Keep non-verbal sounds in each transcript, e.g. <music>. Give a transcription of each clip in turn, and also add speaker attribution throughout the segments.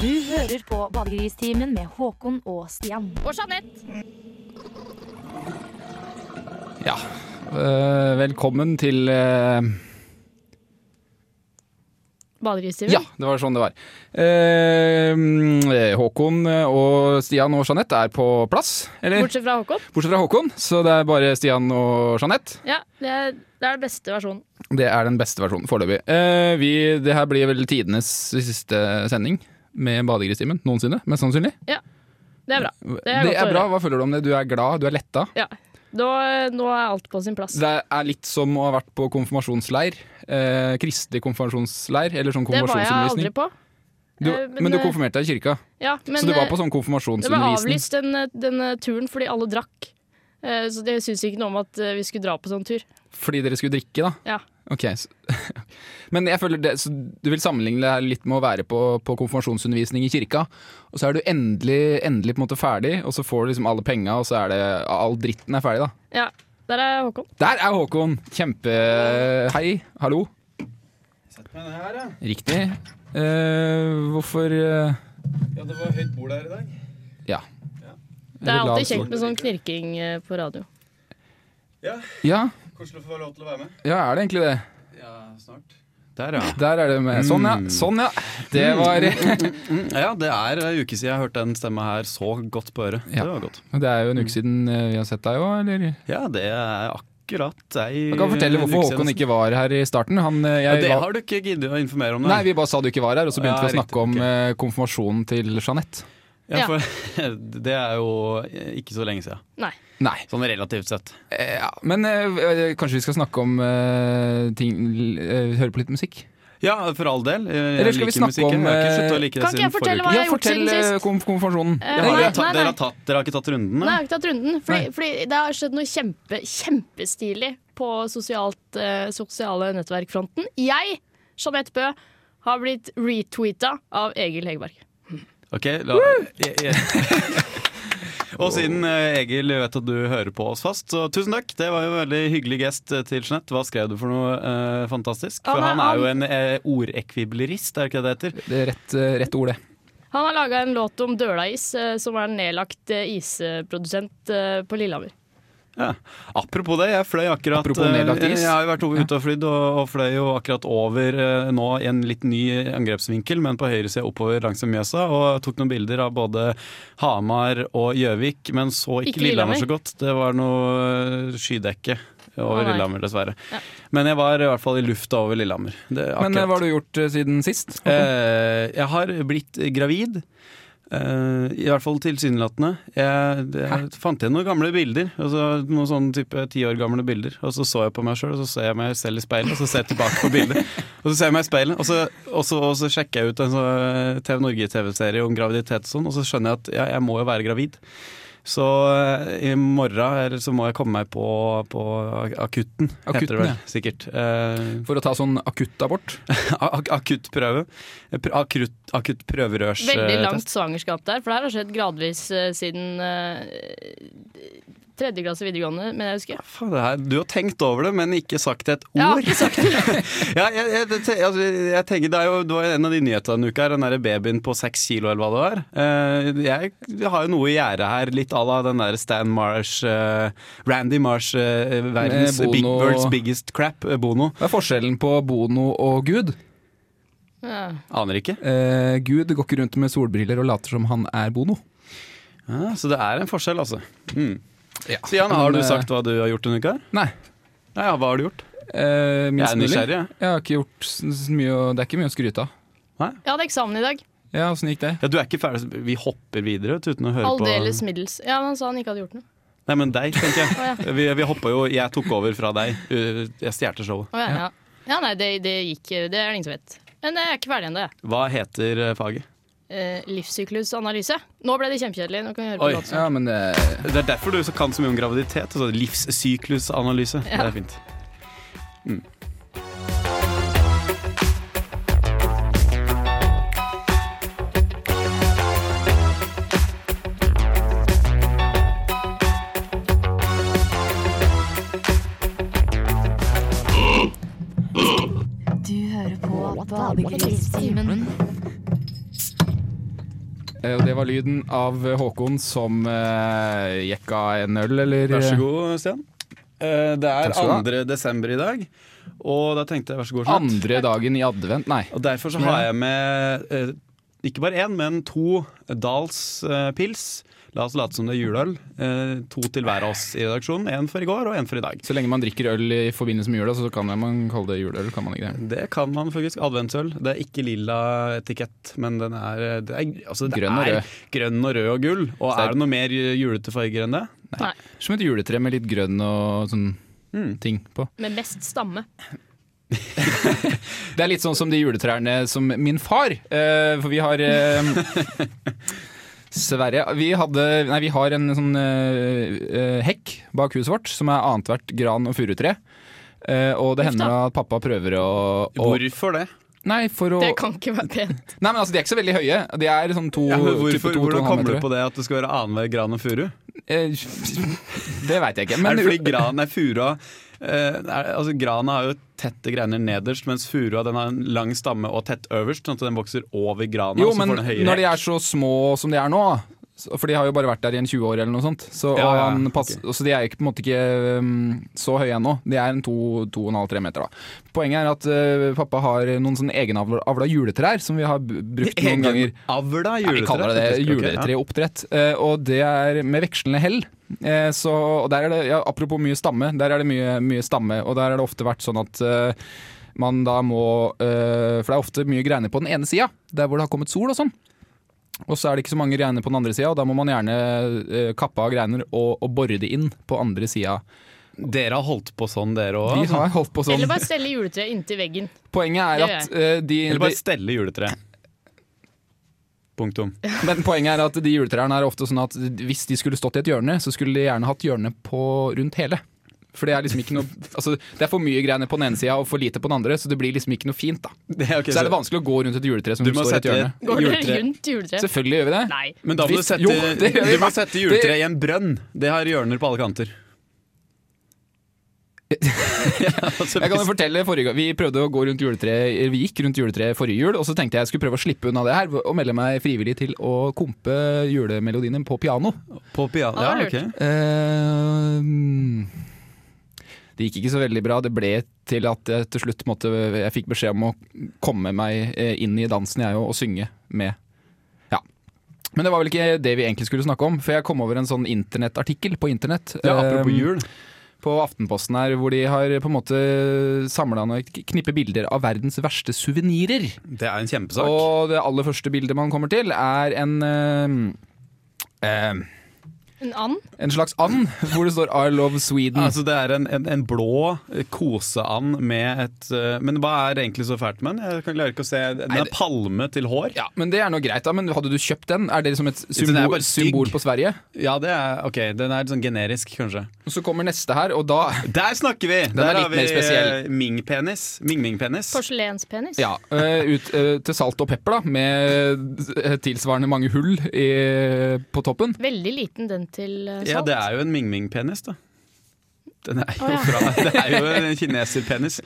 Speaker 1: Du hører på Badegristimen med Håkon og Stian.
Speaker 2: Og Jeanette.
Speaker 3: Ja. eh, velkommen til eh,
Speaker 2: Badegristimen.
Speaker 3: Ja, det var sånn det var. Eh, mm, Håkon og Stian og Jeanette er på plass, eller?
Speaker 2: Bortsett fra Håkon.
Speaker 3: Bortsett fra Håkon, så det er bare Stian og Jeanette.
Speaker 2: Ja, det er, det er den beste versjonen.
Speaker 3: Det er den beste versjonen foreløpig. Eh, vi- det her blir vel tidenes siste sending med Badegristimen noensinne, mest sannsynlig.
Speaker 2: Det er bra. Det er,
Speaker 3: det
Speaker 2: godt å
Speaker 3: er bra.
Speaker 2: høre.
Speaker 3: Hva føler du om det? Du er glad, du er letta.
Speaker 2: Ja. Nå, nå er alt på sin plass.
Speaker 3: Det er litt som å ha vært på konfirmasjonsleir. Eh, kristelig konfirmasjonsleir, eller sånn
Speaker 2: Det var jeg aldri
Speaker 3: konfirmasjonsundervisning.
Speaker 2: på.
Speaker 3: Du,
Speaker 2: Eh, men,
Speaker 3: men du
Speaker 2: eh,
Speaker 3: konfirmerte deg i kirka,
Speaker 2: Ja, men
Speaker 3: så du var
Speaker 2: eh,
Speaker 3: på sånn
Speaker 2: det ble
Speaker 3: konfirmasjonsundervisning.
Speaker 2: avlyst den, den eh, turen fordi alle drakk. Eh, Så det syntes ikke noe om at eh, vi skulle dra på sånn tur.
Speaker 3: Fordi dere skulle drikke, da?
Speaker 2: Ja.
Speaker 3: Ok, så, <laughs> Men jeg føler det, så du vil sammenligne det her litt med å være på, på konfirmasjonsundervisning i kirka, og så er du endelig, endelig på en måte ferdig, og så får du liksom alle penga, og så er det All dritten er ferdig, da.
Speaker 2: Ja, der er Håkon.
Speaker 3: Der er Håkon! Kjempe... Hei, hallo.
Speaker 4: Sett meg ned her, ja.
Speaker 3: Riktig. Eh, hvorfor eh,
Speaker 4: Ja, det var høyt bord her i dag.
Speaker 3: Ja.
Speaker 2: Det er
Speaker 3: Eller
Speaker 2: alltid
Speaker 3: lavstol.
Speaker 2: kjekt med sånn knirking eh, på radio.
Speaker 4: Ja,
Speaker 3: Ja,
Speaker 4: Koselig å få lov til å være med.
Speaker 3: ja, er det egentlig det?
Speaker 4: Ja, snart. Der, ja.
Speaker 3: Der er det med. Sånn, ja. Sånn, ja. Det var
Speaker 4: <clears throat> Ja, Det er en uke siden jeg hørte den stemma her så godt på øret.
Speaker 3: Ja.
Speaker 4: Det var godt.
Speaker 3: Det er jo en
Speaker 4: Mm.
Speaker 3: uke siden eh, vi har sett deg òg, eller?
Speaker 4: Ja, det er akkurat ei
Speaker 3: Jeg kan fortelle hvorfor Håkon ikke var her i starten. Han, eh,
Speaker 4: ja,
Speaker 3: jeg,
Speaker 4: Det
Speaker 3: var-
Speaker 4: har du ikke giddet å informere om?
Speaker 3: Nei, vi bare sa du ikke var her, og så begynte
Speaker 4: Ja,
Speaker 3: vi å snakke
Speaker 4: riktig,
Speaker 3: om
Speaker 4: ok.
Speaker 3: eh, konfirmasjonen til Jeanette.
Speaker 4: ja, for, <laughs> Det er jo ikke så lenge siden.
Speaker 2: Nei.
Speaker 3: Nei.
Speaker 4: Sånn relativt sett.
Speaker 3: Eh, ja. Men eh, eh, kanskje vi skal snakke om eh, ting eh, Høre på litt musikk?
Speaker 4: Ja, for all del. Eh, Jeg
Speaker 3: Eller skal vi
Speaker 4: liker
Speaker 3: snakke
Speaker 4: musikken.
Speaker 3: om,
Speaker 4: Jeg har ikke
Speaker 3: eh,
Speaker 4: sluttet å like det
Speaker 2: Kan ikke jeg
Speaker 4: siden
Speaker 2: fortelle
Speaker 4: forrige
Speaker 2: hva
Speaker 4: uke.
Speaker 2: jeg har gjort
Speaker 3: fortell
Speaker 2: siden
Speaker 3: eh,
Speaker 2: sist?
Speaker 3: konf konfirmasjonen.
Speaker 2: Eh,
Speaker 4: Ja,
Speaker 2: nei,
Speaker 4: dere,
Speaker 2: nei,
Speaker 4: har tatt,
Speaker 2: nei.
Speaker 4: dere, har tatt, dere har ikke tatt runden?
Speaker 2: Nei, jeg har ikke tatt runden. Fordi,
Speaker 3: Nei.
Speaker 2: fordi det har skjedd noe kjempe, kjempestilig på sosialt, eh, sosiale nettverkfronten. Jeg, Jeanette Bø, har blitt retweeta av Egil Hegerberg.
Speaker 4: Ok, la jeg, jeg. Og siden eh, Egil vet at du hører på oss fast, så tusen takk. Det var jo en veldig hyggelig gest eh, til Jeanette. Hva skrev du for noe eh, fantastisk? For
Speaker 2: Han er-
Speaker 4: han er jo en eh, ordekviblerist, er det ikke det det heter?
Speaker 3: Det er rett, eh, rett ord, det.
Speaker 2: Han har laga en låt om Dølais, eh, som er en nedlagt eh, isprodusent eh, på Lillehammer.
Speaker 4: Ja. Apropos det, jeg fløy akkurat
Speaker 3: Apropos nedlagt
Speaker 4: eh,
Speaker 3: is.
Speaker 4: Jeg har jo vært o- ute og flydd, og, og fløy jo akkurat over eh, nå i en litt ny angrepsvinkel, men på høyresida oppover langsom Mjøsa, og tok noen bilder av både Hamar og Gjøvik, men så ikke,
Speaker 2: Ikke Lillehammer.
Speaker 4: Lillehammer så godt. Det var noe eh, skydekke
Speaker 2: Å,
Speaker 4: over
Speaker 2: nei.
Speaker 4: Lillehammer, dessverre.
Speaker 2: Ja.
Speaker 4: Men jeg var i hvert fall i lufta over Lillehammer.
Speaker 3: Men
Speaker 4: Det,
Speaker 3: eh,
Speaker 4: akkurat.
Speaker 3: hva har du gjort eh, siden sist?
Speaker 4: Eh, jeg har blitt gravid. Eh, I hvert fall tilsynelatende. Jeg, jeg fant igjen noen gamle bilder. Altså noen sånn type ti år gamle bilder. Og så så jeg på meg sjøl, og så ser jeg meg selv i speilet, og så ser jeg tilbake på
Speaker 3: <laughs>
Speaker 4: bildet. Og så ser jeg meg i speilet, og så, og så, og så sjekker jeg ut en sånn TV Norge-TV-serie om graviditet og sånn, og så skjønner jeg at ja, jeg må jo være gravid. Så eh, i morgen eller så må jeg komme meg på, på akutten, heter
Speaker 3: Akutten,
Speaker 4: det
Speaker 3: ja.
Speaker 4: vel. Sikkert. Eh,
Speaker 3: For å ta sånn akuttabort?
Speaker 4: Ak akuttprøve. Pr- Akutt, akutt prøverørstest.
Speaker 2: Veldig langt svangerskap der, for det her har skjedd gradvis eh, siden eh, tredje klasse videregående, men jeg husker.
Speaker 4: Eh, Faen, det her, du har tenkt over det, men ikke sagt et
Speaker 2: Jeg har
Speaker 4: ord. <laughs>
Speaker 2: ikke sagt det.
Speaker 4: Ja, jeg, jeg, det- altså, jeg tenker, det, er jo, det var en av de nyhetene denne uka, her, den der babyen på seks kilo eller hva det var. Eh, Jeg har jo noe i gjerdet her, litt à la den der Stan Marsh, eh, Randy Marsh, eh, verdens
Speaker 3: Med
Speaker 4: big,
Speaker 3: Bono.
Speaker 4: world's biggest crap, eh, Bono.
Speaker 3: Hva er forskjellen på Bono og Gud?
Speaker 2: <laughs> Ja.
Speaker 4: Aner ikke.
Speaker 3: Eh, Gud går ikke rundt med solbriller og later som han er Bono.
Speaker 4: Ja, Ah, så det er en forskjell, altså. Mm.
Speaker 3: Ja.
Speaker 4: Stian, har
Speaker 3: Men,
Speaker 4: du
Speaker 3: eh,
Speaker 4: sagt hva du har gjort denne uka? her?
Speaker 3: Nei.
Speaker 4: Nei, ja, hva har du gjort?
Speaker 3: Eh,
Speaker 4: Jeg er
Speaker 3: minst mulig.
Speaker 4: nysgjerrig, jeg.
Speaker 3: Jeg har ikke gjort s- s- mye å, Det er ikke mye å skryte av.
Speaker 2: Jeg hadde eksamen i dag.
Speaker 3: Ja, Åssen gikk det?
Speaker 4: Ja, du er ikke ferdig, så vi hopper videre vet du, uten å høre
Speaker 2: Aldeles middels. Ja, men Han sa han ikke hadde gjort noe.
Speaker 4: på Nei, men deg, tenker jeg.
Speaker 2: Å, ja.
Speaker 4: Vi, vi hoppa jo Jeg tok over fra deg. Uh, Jeg stjal showet.
Speaker 2: Å, ja, ja. ja, nei, det, det gikk Det er det ingen som vet. Men jeg er ikke ferdig ennå, jeg.
Speaker 4: Hva heter eh, faget?
Speaker 2: Eh, livssyklusanalyse. Nå ble det kjempekjedelig. Nå kan vi høre
Speaker 4: Oi.
Speaker 2: på låt.
Speaker 3: Ja, men eh,
Speaker 4: Det er derfor du så kan så mye om graviditet. Altså livssyklusanalyse. Det er fint. Mm.
Speaker 5: Du hører på Badegristimen.
Speaker 3: Eh, Og det var lyden av Håkon som eh, jekka en øl, eller
Speaker 4: Vær så god, Stian. Eh, Det er
Speaker 3: Takk skal du ha.
Speaker 4: 2. desember i dag, og da tenkte jeg vær så god. Jeanette.
Speaker 3: andre dagen i advent. Nei.
Speaker 4: Og derfor så har jeg med eh, ikke bare én, men to Dals eh, pils. La oss late som det er juleøl. Eh, to til hver av oss i redaksjonen. Én for i går og én for i dag.
Speaker 3: Så lenge man drikker øl i forbindelse med jula, så kan man kalle det juleøl. kan man ikke det?
Speaker 4: Det kan man faktisk. Adventsøl. Det er ikke lilla etikett, men den er, det er, altså, det
Speaker 3: Grønn og
Speaker 4: er
Speaker 3: rød.
Speaker 4: grønn og rød og gull. Og
Speaker 3: Så det er-
Speaker 4: er det noe mer julete farger enn det?
Speaker 2: Nei.
Speaker 3: Som et juletre med litt grønn og sånn
Speaker 4: Mm.
Speaker 3: ting på.
Speaker 2: Med mest stamme.
Speaker 3: Det er litt sånn som de juletrærne som min far eh, For vi har eh,
Speaker 4: <laughs>
Speaker 3: Sverre vi, hadde, nei, vi har en sånn eh, eh, hekk bak huset vårt som er annethvert gran- og furutre. Eh, og det
Speaker 2: Uff
Speaker 3: hender
Speaker 2: da.
Speaker 3: at pappa prøver å, å
Speaker 4: Hvorfor det?
Speaker 3: Nei, for å
Speaker 2: Det kan ikke være pent.
Speaker 3: Nei, men altså, De er ikke så veldig høye. De er sånn to,
Speaker 4: Ja, men
Speaker 3: type to,
Speaker 4: hvorfor,
Speaker 3: to og
Speaker 4: hvordan
Speaker 3: en halv
Speaker 4: kommer du
Speaker 3: meter.
Speaker 4: på det at det skal være annenhver gran og furu?
Speaker 3: Eh, <laughs> det veit jeg ikke.
Speaker 4: er
Speaker 3: Men
Speaker 4: det fordi gran er furua eh, er, altså Grana har jo tette greiner nederst, mens furua den har en lang stamme og tett øverst. Sånn at den vokser over grana.
Speaker 3: jo,
Speaker 4: så
Speaker 3: men
Speaker 4: får den høyere.
Speaker 3: når de er så små som de er nå så- For de har jo bare vært der i en 20 år eller noe sånt. Så,
Speaker 4: Ja,
Speaker 3: og
Speaker 4: ja,
Speaker 3: han pass, og så de er jo ikke, på en måte ikke um, så høye ennå. De er en to, to og en halv, tre meter. da Poenget er at eh, pappa har noen sånne egenavla juletrær som vi har b-
Speaker 4: <laughs>
Speaker 3: brukt noen ganger.
Speaker 4: Avla
Speaker 3: Ja, vi
Speaker 4: juletre.
Speaker 3: kaller det det
Speaker 4: faktisk. Ok, ja.
Speaker 3: juletreoppdrett. Eh, Og det er med vekslende hell. Eh, Så, og der er det, ja, apropos mye stamme, der er det mye, mye stamme, og der har det ofte vært sånn at eh, man da må eh, For det er ofte mye greiner på den ene sida, der hvor det har kommet sol og sånn. Og så er det ikke så mange greiner på den andre sida, og da må man gjerne eh, kappe av greiner og, og bore det inn på andre sida.
Speaker 4: Dere har holdt på sånn, dere òg?
Speaker 3: Vi
Speaker 4: altså.
Speaker 3: har holdt på sånn.
Speaker 2: Eller bare stelle juletreet inntil veggen.
Speaker 3: Poenget er
Speaker 2: Det
Speaker 3: at eh, de,
Speaker 4: Eller
Speaker 3: de
Speaker 4: bare stelle juletre. Punktum.
Speaker 3: Men poenget er at de juletrærne er ofte sånn at hvis de skulle stått i et hjørne, så skulle de gjerne hatt hjørne på rundt hele. For det er liksom ikke noe Altså, det er for mye greiene på den ene sida og for lite på den andre, så det blir liksom ikke noe fint, da.
Speaker 4: <laughs> Det, ok,
Speaker 3: Så er det vanskelig å gå rundt et juletre som
Speaker 4: Du må
Speaker 3: står i et
Speaker 4: sette
Speaker 3: hjørne.
Speaker 4: et
Speaker 2: Går dere
Speaker 4: juletre.
Speaker 2: rundt juletreet?
Speaker 3: Selvfølgelig gjør vi det.
Speaker 2: Nei.
Speaker 4: Men da må du
Speaker 3: Hvis-
Speaker 4: sette,
Speaker 3: jo, det gjør vi.
Speaker 4: du må sette juletreet i en brønn. Det har hjørner på alle
Speaker 3: <laughs>
Speaker 4: kanter. Ja, altså,
Speaker 3: Jeg kan jo fortelle forrige gang Vi prøvde å gå rundt juletreet Vi gikk rundt juletreet forrige jul, og så tenkte jeg jeg skulle prøve å slippe unna det her og melde meg frivillig til å kompe julemelodiene på piano.
Speaker 4: På piano. Ja,
Speaker 2: Ja, lurt.
Speaker 4: ok.
Speaker 3: Eh, det gikk ikke så veldig bra. Det ble til at jeg til slutt måtte Jeg fikk beskjed om å komme meg eh, inn i dansen jeg og, og synge med. Ja. Men det var vel ikke det vi egentlig skulle snakke om, for jeg kom over en sånn internettartikkel på internett.
Speaker 4: Ja, apropos
Speaker 3: eh,
Speaker 4: jul.
Speaker 3: På Aftenposten her, hvor de har på en måte samla et knippe bilder av verdens verste suvenirer.
Speaker 4: Det er en kjempesak.
Speaker 3: Og det aller første bildet man kommer til, er en eh, eh,
Speaker 2: En and?
Speaker 3: en slags and <laughs> hvor det står 'I love Sweden'.
Speaker 4: Altså Det er en, en, en blå eh, koseand med et eh, Men hva er egentlig så fælt med den? Jeg kan klarer ikke å se Den er
Speaker 3: det-
Speaker 4: palme til hår.
Speaker 3: Ja, men det er noe greit da, men hadde du kjøpt den? Er det liksom et
Speaker 4: den er
Speaker 3: symbol,
Speaker 4: bare stygg.
Speaker 3: symbol på Sverige?
Speaker 4: Ja, det er ok, den er litt sånn generisk, kanskje.
Speaker 3: Og så kommer neste her, og da
Speaker 4: Der snakker vi!
Speaker 3: er
Speaker 4: Der
Speaker 3: litt
Speaker 4: har vi
Speaker 3: mer spesiell.
Speaker 4: eh, Ming-penis. Ming-Ming-penis.
Speaker 2: Porselenspenis?
Speaker 3: ja, eh, ut eh, til salt og pepper, da, med eh, tilsvarende mange hull i, på toppen.
Speaker 2: Veldig liten den til eh,
Speaker 4: Ja,
Speaker 2: salt.
Speaker 4: det er jo en Ming-Ming-penis, da. Den er jo
Speaker 2: Å, ja.
Speaker 4: fra Det er jo en kineser-penis.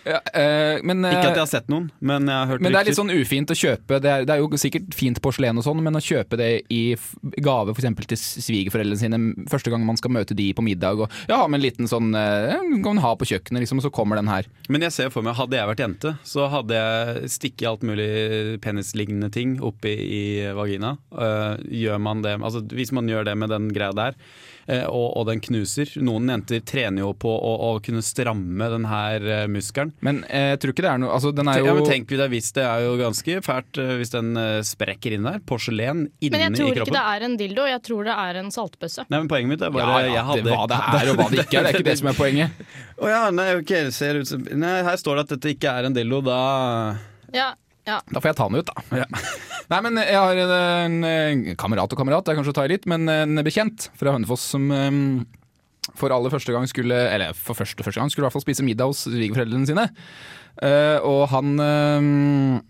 Speaker 3: Ja, eh, men, eh,
Speaker 4: Ikke at jeg har sett noen, men jeg har hørt
Speaker 3: men det er litt
Speaker 4: rykter.
Speaker 3: sånn ufint å kjøpe. Det er, det er jo sikkert fint porselen og sånn, men å kjøpe det i f- gave f.eks. til svigerforeldrene sine første gang man skal møte de på middag, og ja, med en liten sånn eh, kan man ha på kjøkkenet, liksom, og så kommer den her.
Speaker 4: Men jeg ser for meg, hadde jeg vært jente, så hadde jeg stikket alt mulig penislignende ting oppi i vagina. Eh, gjør man det, altså Hvis man gjør det med den greia der, eh, og, og den knuser Noen jenter trener jo på å, å kunne stramme den her eh, muskelen.
Speaker 3: Men eh, jeg tror ikke det er noe altså, Den er
Speaker 4: Tenk,
Speaker 3: jo
Speaker 4: ja, men tenk vi deg hvis Det er jo ganske fælt eh, hvis den eh, sprekker inn der. Porselen
Speaker 2: Men jeg
Speaker 4: inni i
Speaker 2: tror ikke
Speaker 4: kroppen.
Speaker 2: det er en dildo, jeg tror det er en saltbøsse.
Speaker 4: Nei, men Poenget mitt er bare
Speaker 3: ja, ja,
Speaker 4: jeg hadde,
Speaker 3: det, hva det er og hva det ikke er, det er ikke det som er poenget.
Speaker 4: <laughs> Å ja, nei, ok, det ser ut som Nei, her står det at dette ikke er en dildo, da
Speaker 2: Ja, ja.
Speaker 3: Da får jeg ta den ut, da. <laughs> Nei, men jeg har en, en kamerat og kamerat, jeg kanskje tar i litt, men en bekjent fra Hønefoss som um, for aller første gang skulle Eller for første, første gang skulle i hvert fall spise middag hos svigerforeldrene sine. Eh, og han um,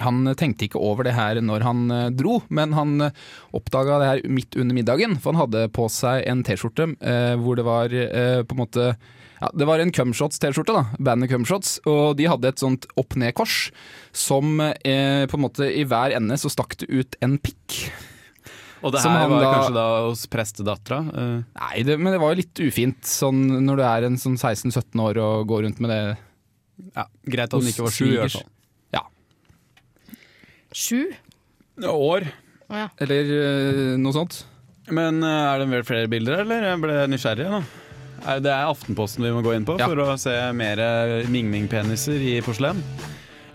Speaker 3: Han tenkte ikke over det her når han eh, dro, men han oppdaga det her midt under middagen. For han hadde på seg en T-skjorte eh, hvor det var eh, på en måte ja, Det var en Cumshots-T-skjorte, da. Bandet Cumshots. Og de hadde et sånt opp-ned-kors som eh, på en måte i hver ende så stakk det ut en pikk.
Speaker 4: Og det
Speaker 3: Som
Speaker 4: her
Speaker 3: han
Speaker 4: var
Speaker 3: da-
Speaker 4: kanskje da hos prestedattera. eh,
Speaker 3: Nei, det, men det var jo litt ufint sånn når du er en sånn 16-17 år og går rundt med det.
Speaker 4: ja, greit at hun
Speaker 3: Hos
Speaker 4: ikke var sju, i hvert
Speaker 3: svigers.
Speaker 4: fall.
Speaker 2: Sju?
Speaker 4: År.
Speaker 2: Å ja.
Speaker 3: Eller eh, noe sånt.
Speaker 4: Men eh, er det vel flere bilder, eller? Jeg ble nysgjerrig nå. Er Det er Aftenposten vi må gå inn på
Speaker 3: Ja.
Speaker 4: for å se mer eh, ming-ming-peniser i porselen.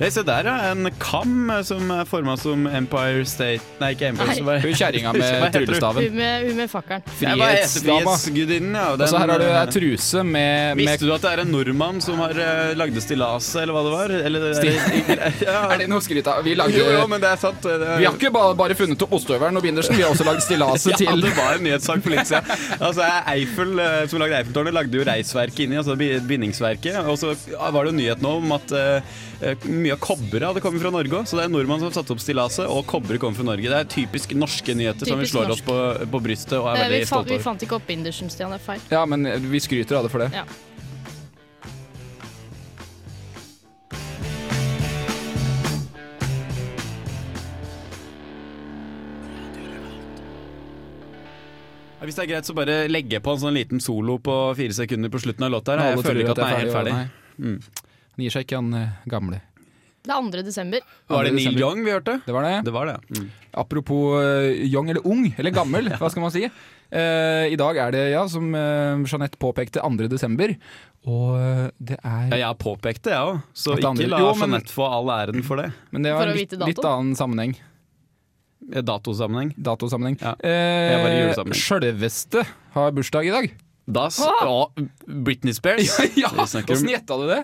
Speaker 4: Jeg ser der, ja. En kam eh, som er forma som Empire State Nei, ikke Empire
Speaker 2: Nei.
Speaker 4: State. hva er-
Speaker 3: Hun
Speaker 4: <laughs>
Speaker 3: kjerringa
Speaker 4: Hva
Speaker 3: med
Speaker 4: heter hun?
Speaker 3: tryllestaven.
Speaker 2: Hun med, hun med fakkelen.
Speaker 4: Ja, hva heter
Speaker 3: Frihetsdama.
Speaker 4: Frihetsgudinnen, ja.
Speaker 3: Og
Speaker 4: den- eh,
Speaker 3: så her har du ei truse med, med
Speaker 4: Visste du at det er en nordmann som har eh, lagde stillaset, eller hva det var? Eller, <laughs> ja,
Speaker 3: Er det noe å skryte av? Vi lagde
Speaker 4: jo, jo, men det er sant. eh, Det er,
Speaker 3: Vi har ikke bare, bare funnet opp ostehøvelen og bindersen, vi har også lagd
Speaker 2: Altså,
Speaker 3: stillaset
Speaker 4: <laughs> ja,
Speaker 3: til
Speaker 4: det var en nyhetssak for litt siden. Altså, Eiffel, eh, som lagde Eiffeltårnet, lagde jo reisverket inni, altså bi- bindingsverket. Og så var det jo nyhet nå om at eh, eh, mye av kobberet hadde kommet fra Norge òg. Så det er en nordmann som har satt opp stillaset, og kobberet kommer fra Norge. Det er typisk norske nyheter som vi
Speaker 2: Typisk
Speaker 4: slår
Speaker 2: norsk.
Speaker 4: oss på, på brystet og
Speaker 2: Eh,
Speaker 4: er
Speaker 2: Vi,
Speaker 4: veldig
Speaker 2: fant-
Speaker 4: stolte
Speaker 2: vi
Speaker 4: over.
Speaker 2: fant ikke opp bindersen, Stian. Det er feil.
Speaker 3: Ja, men vi skryter av det for det.
Speaker 2: Ja.
Speaker 4: Ja, Hvis det er greit, så bare legge på en sånn liten solo på fire sekunder på slutten av låta. her. Jeg
Speaker 3: Alle
Speaker 4: føler ikke
Speaker 3: tror
Speaker 4: at den er helt ferdig.
Speaker 3: og Nei. Mm. Han gir seg ikke, han eh, gamle.
Speaker 2: Det er 2. desember.
Speaker 4: Var det Neil
Speaker 3: Desember.
Speaker 4: Young vi hørte?
Speaker 3: Det var det.
Speaker 4: Det var det. Mm.
Speaker 3: Apropos eh, young eller ung, eller gammel,
Speaker 4: <laughs>
Speaker 3: hva skal man si. Eh, I dag er det, ja, som eh, Jeanette påpekte, 2. desember. Og eh, det
Speaker 4: Ja,
Speaker 3: er
Speaker 4: jeg har påpekt det, jeg òg, så
Speaker 3: At det andre-
Speaker 4: ikke la
Speaker 3: Jo, men-
Speaker 4: Jeanette få all æren for det.
Speaker 3: Men det
Speaker 2: For
Speaker 3: var
Speaker 2: å
Speaker 3: litt,
Speaker 2: vite dato?
Speaker 3: litt annen sammenheng.
Speaker 4: I Datosammenheng.
Speaker 3: Datosammenheng.
Speaker 4: Ja, var i
Speaker 3: Eh,
Speaker 4: julesammenheng.
Speaker 3: Sjølveste har bursdag i dag.
Speaker 4: <laughs> Da s- Å, Britney Spears.
Speaker 3: <laughs> ja,
Speaker 4: Vi snakker om-
Speaker 3: Åssen gjetta du det?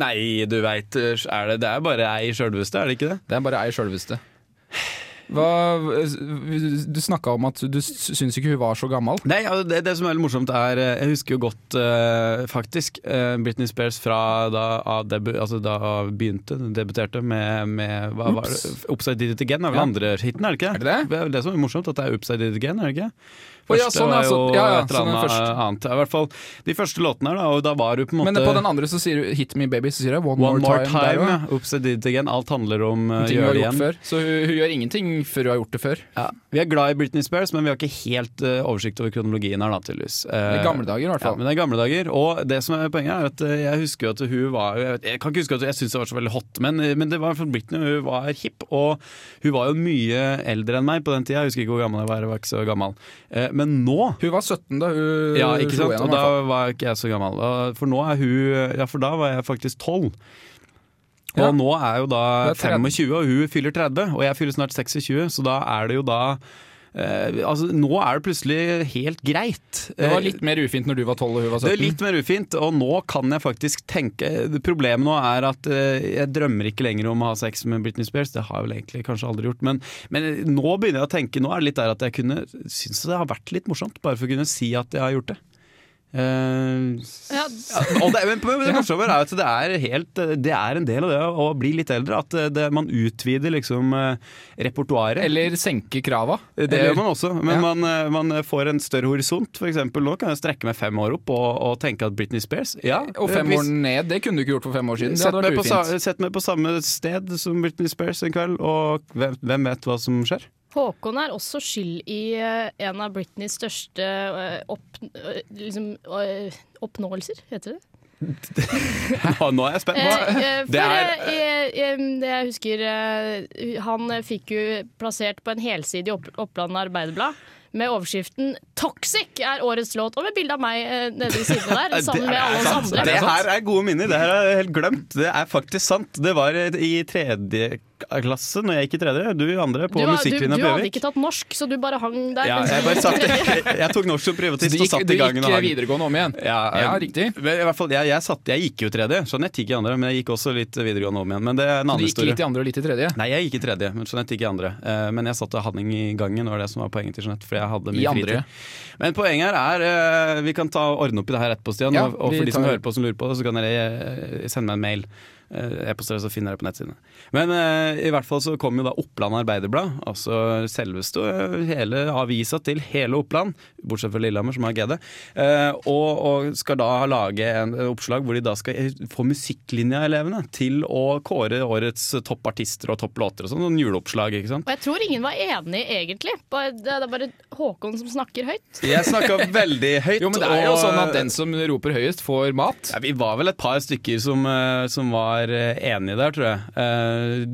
Speaker 4: Nei, du veit, er det, det er bare ei sjølveste, er det ikke det?
Speaker 3: Det er bare ei sjølveste. Hva, du snakka om at du syns ikke hun var så gammel.
Speaker 4: Nei, ja, det, det som er veldig morsomt er eh, Jeg husker jo godt, eh, faktisk, eh, Britney Spears fra da hun debu, altså da hun begynte, debuterte med, med hva var det?
Speaker 3: Oops.
Speaker 4: Upside Did It Again er vel
Speaker 3: Ja.
Speaker 4: andre hiten, er det ikke
Speaker 3: Er det det?
Speaker 4: Det er jo det som er morsomt, at det er Upside Did It Again, er det ikke?
Speaker 3: Å, ja, sånn, ja,
Speaker 4: var jo
Speaker 3: sånn. Ja, ja,
Speaker 4: et
Speaker 3: sånn er
Speaker 4: eller annet
Speaker 3: først.
Speaker 4: annet. Ja, I hvert fall de første låtene her, da, og da var hun på en måte
Speaker 3: Men på den andre så sier hun 'Hit me baby', så sier hun 'One,
Speaker 4: One
Speaker 3: der
Speaker 4: More Time,
Speaker 3: også.
Speaker 4: ja. Upside Did It Again. Alt handler om uh,
Speaker 3: Ting hun
Speaker 4: gjør
Speaker 3: har
Speaker 4: det
Speaker 3: gjort
Speaker 4: igjen.
Speaker 3: før. Så hun, hun gjør ingenting før hun har gjort det før.
Speaker 4: Ja. Vi er glad i Britney Spears, men vi har ikke helt eh, oversikt over kronologien her, da, tydeligvis.
Speaker 3: I
Speaker 4: Eh,
Speaker 3: gamle dager, i hvert
Speaker 4: Ja,
Speaker 3: fall.
Speaker 4: men det er gamle dager. Og det som er poenget er at eh, jeg husker jo at hun var Jeg, vet, jeg kan ikke huske at jeg syntes det var så veldig hot, men, eh, men det var for Britney, hun var hipp. Og hun var jo mye eldre enn meg på den tida. Jeg husker ikke hvor gammel jeg var, jeg var ikke så gammel. Eh, Men nå
Speaker 3: Hun var 17 da hun
Speaker 4: ja, ikke
Speaker 3: slo
Speaker 4: Eh,
Speaker 3: gjennom. i hvert
Speaker 4: sant? Og da var ikke jeg så gammel. Og For nå er hun Ja, for da var jeg faktisk 12. Og
Speaker 3: Ja.
Speaker 4: nå er jo da
Speaker 3: Du er 30.
Speaker 4: 25, og hun fyller 30, og jeg fyller snart 26, så da er det jo da eh, Altså, nå er det plutselig helt greit.
Speaker 3: fall. Det var
Speaker 4: Eh,
Speaker 3: litt mer ufint når du var 12 og hun var 17.
Speaker 4: det er litt mer ufint, og nå kan jeg faktisk tenke Problemet nå er at eh, jeg drømmer ikke lenger om å ha sex med Britney Spears. Det har jeg vel egentlig kanskje aldri gjort, men, men nå begynner jeg å tenke Nå er det litt der at jeg kunne syns det har vært litt morsomt, bare for å kunne si at jeg har gjort det. Eh,
Speaker 2: Ja,
Speaker 4: ja, og det, men, men det morsomme er at det er, helt, det er en del av det å bli litt eldre. At eh, det, man utvider liksom eh, repertoaret.
Speaker 3: Eller senke krava.
Speaker 4: Det
Speaker 3: Eller-
Speaker 4: gjør man også, men
Speaker 3: Ja.
Speaker 4: man, eh, man får en større horisont. For eksempel, nå kan jeg strekke meg fem år opp og, og tenke at Britney Spears ja,
Speaker 3: Og fem
Speaker 4: hvis-
Speaker 3: år ned, det kunne du ikke gjort for fem år siden. Det
Speaker 4: Sett
Speaker 3: hadde
Speaker 4: meg,
Speaker 3: vært
Speaker 4: på, sa-
Speaker 3: ufint.
Speaker 4: sett meg på samme sted som Britney Spears en kveld, og hvem, hvem vet hva som skjer? <laughs>
Speaker 2: Håkon er også skyld i eh, en av Britneys største eh, opp, eh, liksom, eh, oppnåelser, heter det.
Speaker 4: Nå, nå er jeg spent.
Speaker 2: Eh,
Speaker 4: Hva?
Speaker 2: eh,
Speaker 4: <laughs> Det
Speaker 2: for
Speaker 4: er-
Speaker 2: eh, eh, eh, det jeg husker eh, Han eh, fikk jo plassert på en helside i opp, Oppland Arbeiderblad med overskriften 'Toxic er årets låt', og med bilde av meg eh, nede i siden
Speaker 4: <laughs>
Speaker 2: der, sammen med alle oss
Speaker 4: Det
Speaker 2: andre.
Speaker 4: her er gode minner. Det her har jeg helt glemt. Det er faktisk sant. Det var eh, i tredje klasse, når jeg gikk i tredje, du andre, på
Speaker 2: Du, var, du,
Speaker 4: musikklinja
Speaker 2: du
Speaker 4: på
Speaker 2: hadde
Speaker 4: Gjøvik.
Speaker 2: ikke tatt norsk, så du bare hang der.
Speaker 4: Ja,
Speaker 2: mens
Speaker 4: jeg,
Speaker 2: vi
Speaker 4: bare
Speaker 2: gikk <laughs>
Speaker 4: satt,
Speaker 2: til det.
Speaker 4: jeg, jeg tok norsk som
Speaker 3: Så
Speaker 4: privatist
Speaker 3: det
Speaker 4: og
Speaker 3: gikk,
Speaker 4: satt
Speaker 3: det
Speaker 4: i gangen.
Speaker 3: gikk
Speaker 4: og hagen.
Speaker 3: videregående om igjen.
Speaker 4: Ja, eh,
Speaker 3: Ja, riktig.
Speaker 4: Men i hvert fall, jeg, jeg, satt, jeg gikk jo tredje. Jeanette gikk i andre, men jeg gikk også litt videregående om igjen. Men det er
Speaker 3: Så du
Speaker 4: en annen
Speaker 3: gikk
Speaker 4: historie.
Speaker 3: litt i andre og litt i tredje.
Speaker 4: Nei, jeg gikk i tredje, men Jeanette gikk i andre. Eh, men jeg satt og hadde i gangen, var det som var poenget til Jeanette. Fordi jeg hadde
Speaker 3: I
Speaker 4: mye
Speaker 3: andre.
Speaker 4: fritid. Men poenget her er eh, Vi kan ta, ordne opp i det her etterpå, Stian.
Speaker 3: Ja,
Speaker 4: og, og
Speaker 3: vi
Speaker 4: for de som
Speaker 3: tar-
Speaker 4: hører på som lurer på det, så kan dere eh, sende meg en mail. Eh, E-poster, så finner dere på nettsidene. Men eh, i hvert fall så kom jo da Oppland Arbeiderblad, altså selveste eh, hele avisa til hele Oppland, bortsett fra Lillehammer, som har GD, eh, og, og skal da lage en eh, oppslag hvor de da skal eh, få musikklinja-elevene til å kåre årets toppartister og topplåter og sånn, sånn juleoppslag, ikke sant.
Speaker 2: Og jeg tror ingen var enig, egentlig. Bare, det er bare Håkon som snakker høyt.
Speaker 4: Jeg snakka veldig høyt.
Speaker 3: Jo, men det er jo
Speaker 4: og-
Speaker 3: sånn at den som roper høyest, får mat.
Speaker 4: Ja, vi var vel et par stykker som, eh, som var eh, enige der, tror jeg.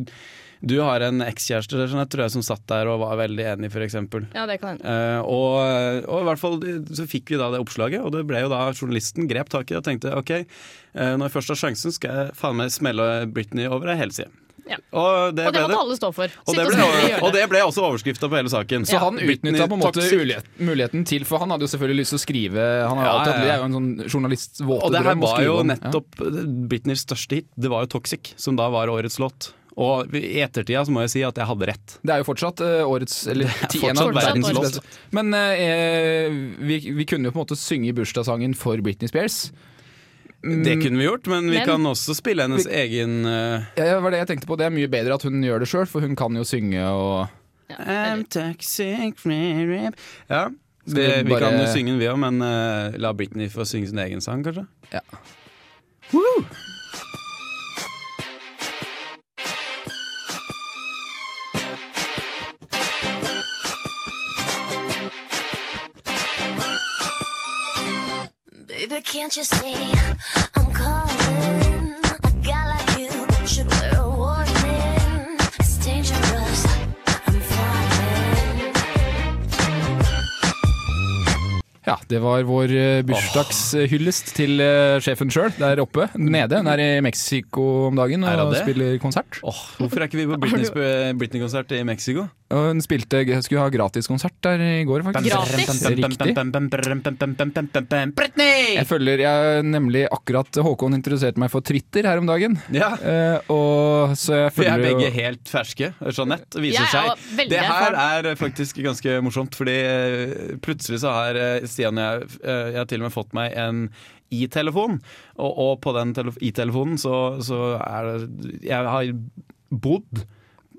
Speaker 4: Eh, Du har en ekskjæreste der, sånn, jeg tror jeg, som satt der og var veldig enig, f.eks.
Speaker 2: Ja, det kan hende.
Speaker 4: og, og i hvert fall så fikk vi da det oppslaget, og det ble jo da journalisten grep tak i det og tenkte OK, eh, når jeg først har sjansen, skal jeg faen meg smelle Britney over ei helside.
Speaker 2: Ja.
Speaker 4: Og det
Speaker 2: Og det
Speaker 4: ble
Speaker 2: måtte
Speaker 4: det.
Speaker 2: alle stå for.
Speaker 4: Og det
Speaker 2: Sitte og
Speaker 4: ble,
Speaker 2: snakke i
Speaker 4: og
Speaker 2: hjørnet.
Speaker 4: det ble også overskrifta på hele saken.
Speaker 3: Så han
Speaker 4: Britney
Speaker 3: utnytta på en måte
Speaker 4: toxic.
Speaker 3: mulighet- muligheten til, for han hadde jo selvfølgelig lyst til å skrive Han har jo
Speaker 4: Ja,
Speaker 3: alltid, hatt-
Speaker 4: ja, ja.
Speaker 3: Det er jo en sånn journalists
Speaker 4: Og
Speaker 3: våte
Speaker 4: det her
Speaker 3: drøm å
Speaker 4: var
Speaker 3: skrive
Speaker 4: jo
Speaker 3: om. Ja.
Speaker 4: nettopp Britneys største hit. Det var jo 'Toxic', som da var årets låt. Og i ettertida så må jeg si at jeg hadde rett.
Speaker 3: Det er jo fortsatt eh, årets Eller
Speaker 4: Det er
Speaker 3: ti- en av
Speaker 4: fortsatt
Speaker 3: verdens
Speaker 2: verdens
Speaker 3: beste. Men eh, vi, vi kunne jo på en måte synge bursdagssangen for Britney Spears.
Speaker 4: Det kunne vi gjort, men vi
Speaker 2: Men-
Speaker 4: kan også spille hennes egen eh,
Speaker 3: Ja, det var det jeg tenkte på. Det er mye bedre at hun gjør det sjøl, for hun kan jo synge og
Speaker 4: I'm toxic rip. Ja,
Speaker 3: Skal
Speaker 4: det,
Speaker 3: vi
Speaker 4: vi
Speaker 3: bare-
Speaker 4: kan jo synge den vi òg, men eh, la Britney få synge sin egen sang, kanskje?
Speaker 3: Ja.
Speaker 4: Woo!
Speaker 5: Baby, can't you see I'm calling? A guy like you should wear a warning. It's dangerous. I'm falling.
Speaker 3: Ja, det var vår eh, bursdagshyllest til eh, sjefen sjøl der oppe. Nede. Hun er i Mexico om dagen
Speaker 4: Er hun
Speaker 3: og
Speaker 4: det?
Speaker 3: spiller konsert.
Speaker 4: Åh, hvorfor er ikke vi på Britneys- Britney-konsert i Mexico?
Speaker 3: Og hun spilte, skulle ha gratiskonsert der i går, faktisk.
Speaker 2: Gratis?
Speaker 3: Riktig.
Speaker 4: Britney!
Speaker 3: Jeg følger jeg, nemlig akkurat Håkon introduserte meg for Twitter her om dagen.
Speaker 4: Ja.
Speaker 3: Eh, og så jeg
Speaker 4: Vi er
Speaker 3: følger
Speaker 4: begge
Speaker 3: jo
Speaker 4: helt ferske. Jeanette
Speaker 2: Jeg
Speaker 4: viser
Speaker 2: er
Speaker 4: seg.
Speaker 2: jo veldig
Speaker 4: Det her er faktisk ganske morsomt, fordi eh, plutselig så har eh, Stian og jeg eh, Jeg har til og med fått meg en i-telefon, og, og på den telef- i-telefonen så, så er det Jeg har bodd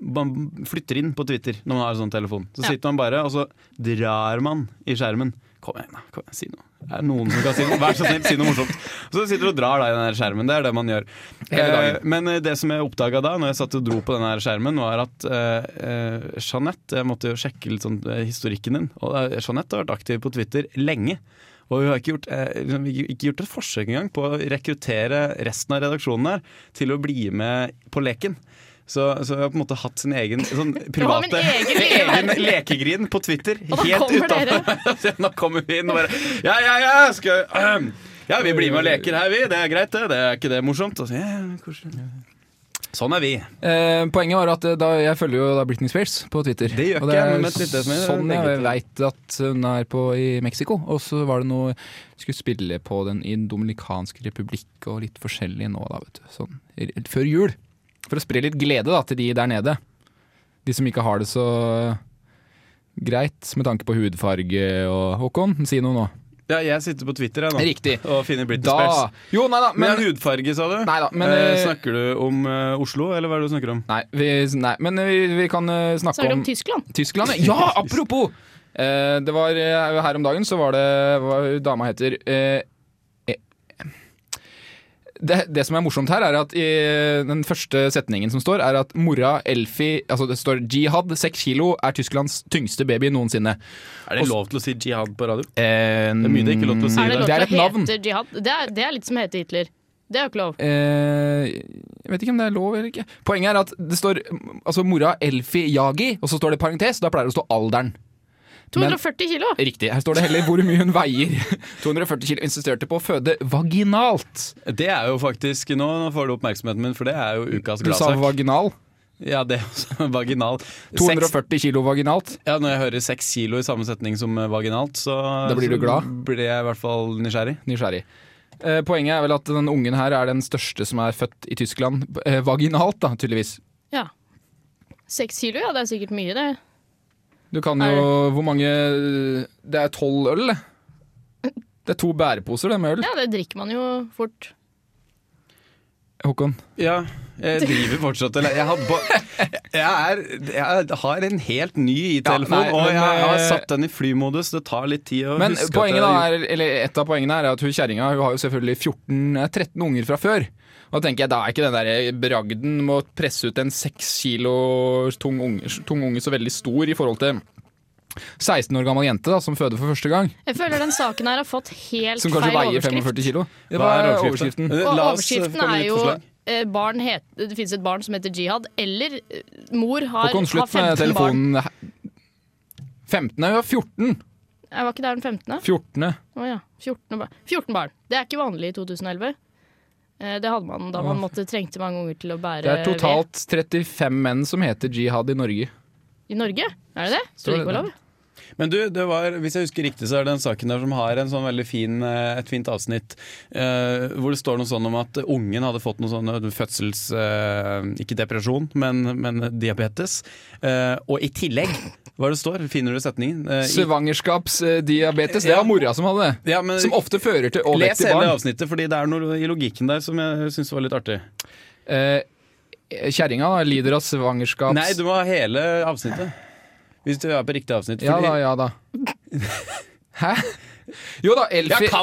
Speaker 4: man flytter inn på Twitter når man har sånn telefon. Så
Speaker 2: Ja.
Speaker 4: sitter man bare og så drar man i skjermen. Kom igjen, da. Kom igjen, si noe. Er det noen som kan si noe? Vær så snill, si noe morsomt. Så sitter du og drar da i den her skjermen. Det er det man gjør.
Speaker 3: Hele dagen.
Speaker 4: Eh, men eh, det som jeg oppdaga da, når jeg satt og dro på den her skjermen, var at eh, eh, Jeanette Jeg måtte jo sjekke litt sånn eh, historikken din. Og eh, Jeanette har vært aktiv på Twitter lenge. Og hun har ikke gjort, eh, liksom ikke- ikke gjort et forsøk engang på å rekruttere resten av redaksjonen her til å bli med på leken. Så, så hun har på en måte hatt sin egen sånn
Speaker 2: har min
Speaker 4: private <laughs>
Speaker 2: egen altså.
Speaker 4: egen lekegrin på Twitter.
Speaker 2: Og da
Speaker 4: Helt
Speaker 2: kommer
Speaker 4: <laughs> utenfor. Nå kommer vi inn og bare Ja, ja, ja! Skal, ja, vi blir med og leker her, vi. Det er greit, det. det er ikke det morsomt? Og så, ja, ja, koselig. sånn er vi.
Speaker 3: Eh, Poenget var at eh, da, jeg følger jo da Britney Spears på Twitter.
Speaker 4: Det gjør
Speaker 3: og
Speaker 4: ikke
Speaker 3: det
Speaker 4: jeg,
Speaker 3: er
Speaker 4: men det er litt det som jeg
Speaker 3: sånn
Speaker 4: legger
Speaker 3: jeg
Speaker 4: til.
Speaker 3: veit at hun er på i Mexico. Og så var det noe Skulle spille på den i Den dominikanske republikk og litt forskjellig nå, da, vet du. Sånn r- før jul. For å spre litt glede da til de der nede. De som ikke har det så eh, greit med tanke på hudfarge og Håkon, si noe nå.
Speaker 4: Ja, jeg sitter på Twitter jeg, nå
Speaker 3: Riktig.
Speaker 4: og finner Britney
Speaker 3: Da
Speaker 4: Spears.
Speaker 3: Jo, nei da,
Speaker 4: Men,
Speaker 3: men
Speaker 4: hudfarge, sa du?
Speaker 3: Nei da, men
Speaker 4: eh,
Speaker 3: eh,
Speaker 4: snakker du om eh, Oslo, eller hva er det du snakker om?
Speaker 3: Nei, vi, nei, men vi, vi kan eh,
Speaker 2: Så er
Speaker 3: snakke
Speaker 2: det
Speaker 3: om
Speaker 2: om Tyskland.
Speaker 3: Tyskland,
Speaker 4: <laughs>
Speaker 3: ja! ja apropos! Eh, det var eh, Her om dagen så var det hva dama heter eh, eh, det, det som er morsomt her, er at i den første setningen som står, er at mora Elfi Altså det står jihad, seks kilo, er Tysklands tyngste baby noensinne.
Speaker 4: Er det lov til å si jihad på radio?
Speaker 3: Eh,
Speaker 4: Det er mye det er ikke lov til å si.
Speaker 2: Er det lov
Speaker 3: Det er et
Speaker 2: til å
Speaker 3: navn.
Speaker 2: hete jihad? Det er, det er litt som å hete Hitler. Det er jo ikke lov.
Speaker 3: Eh, jeg vet ikke om det er lov eller ikke. Poenget er at det står altså mora Elfi Jagi, og så står det parentes. Da pleier det å stå alderen. Men-
Speaker 2: 240 kilo!
Speaker 3: Riktig. Her står det heller hvor mye hun veier. <laughs> 240 kilo insisterte på å føde vaginalt.
Speaker 4: Det er jo faktisk Nå får du oppmerksomheten min, for det er jo ukas
Speaker 3: Du sa
Speaker 4: gladsak.
Speaker 3: vaginal.
Speaker 4: Ja, det er også <laughs> vaginal. Seks-
Speaker 3: 240 kilo vaginalt.
Speaker 4: Ja, Når jeg hører seks kilo i samme setning som eh, vaginalt, så
Speaker 3: Da blir du
Speaker 4: så
Speaker 3: glad?
Speaker 4: blir jeg i hvert fall nysgjerrig.
Speaker 3: Nysgjerrig. Eh, poenget er vel at den ungen her er den største som er født i Tyskland. Eh, vaginalt, da, tydeligvis.
Speaker 2: Ja. Seks kilo, ja. Det er sikkert mye, det.
Speaker 3: Du kan jo Hvor mange eh, Det er tolv øl, det. Det er to bæreposer, det med øl.
Speaker 2: Ja, det drikker man jo fort.
Speaker 3: Håkon?
Speaker 4: Ja, jeg driver fortsatt eller Jeg, har
Speaker 2: <laughs>
Speaker 4: ba- jeg, er, jeg har en helt ny i
Speaker 3: Ja,
Speaker 4: telefonen,
Speaker 3: nei,
Speaker 4: og
Speaker 3: men,
Speaker 4: jeg har
Speaker 3: eh,
Speaker 4: satt den i flymodus. Det tar litt tid å
Speaker 3: Men
Speaker 4: huske at
Speaker 3: poenget da
Speaker 4: jeg-
Speaker 3: er, eller et av poengene er at hun kjerringa hun har jo selvfølgelig 14, eh, 13 unger fra før. Og da tenker jeg, Da er ikke den der bragden med å presse ut en seks kilo tung unge, tung unge så veldig stor i forhold til 16 år gammel jente da, som føder for første gang.
Speaker 2: Jeg føler den saken her har fått helt
Speaker 3: Som kanskje
Speaker 2: feil
Speaker 3: veier
Speaker 2: overskrift.
Speaker 3: 45 kilo. Det
Speaker 4: Hva
Speaker 3: var
Speaker 4: er
Speaker 3: overskriften.
Speaker 4: overskriften?
Speaker 2: Og
Speaker 4: La oss
Speaker 2: overskriften
Speaker 4: komme
Speaker 2: er
Speaker 4: med et
Speaker 2: jo
Speaker 4: forslag.
Speaker 2: eh, barn het, Det finnes et barn som heter jihad, eller eh, mor har,
Speaker 3: Håkon,
Speaker 2: har
Speaker 3: slutt
Speaker 2: 15
Speaker 3: med
Speaker 2: barn.
Speaker 3: telefonen. 15? Nei, hun har 14!
Speaker 2: Jeg var ikke der den 15.
Speaker 3: 14.
Speaker 2: Å ja. 14 barn. 14 barn. Det er ikke vanlig i 2011. Eh, Det hadde man da man måtte, trengte mange unger til å bære
Speaker 3: Det er totalt 35 menn som heter jihad i Norge.
Speaker 2: ved. I Norge? Er det det?
Speaker 3: Står
Speaker 2: Tror
Speaker 3: det
Speaker 2: ikke det var lov.
Speaker 4: Men du, det var, hvis jeg husker riktig, så er det den saken der som har en sånn veldig fin, eh, et fint avsnitt eh, hvor det står noe sånn om at ungen hadde fått noe sånn fødsels... Eh, ikke depresjon, men, men diabetes. Eh, og i tillegg, hva er det står? Finner du setningen? Eh, i-
Speaker 3: Svangerskapsdiabetes, eh, det var mora som hadde det.
Speaker 4: ja, men,
Speaker 3: Som ofte fører til
Speaker 4: Les
Speaker 3: overvektige
Speaker 4: hele
Speaker 3: barn.
Speaker 4: avsnittet, fordi det er noe i logikken der som jeg syns var litt artig.
Speaker 3: Eh, Kjerringa da, lider av svangerskaps...
Speaker 4: Nei, du må ha hele avsnittet. Hvis du er på riktig avsnitt.
Speaker 3: Ja
Speaker 4: fordi-
Speaker 3: da, ja da. Hæ? Jo da, Elfi Ja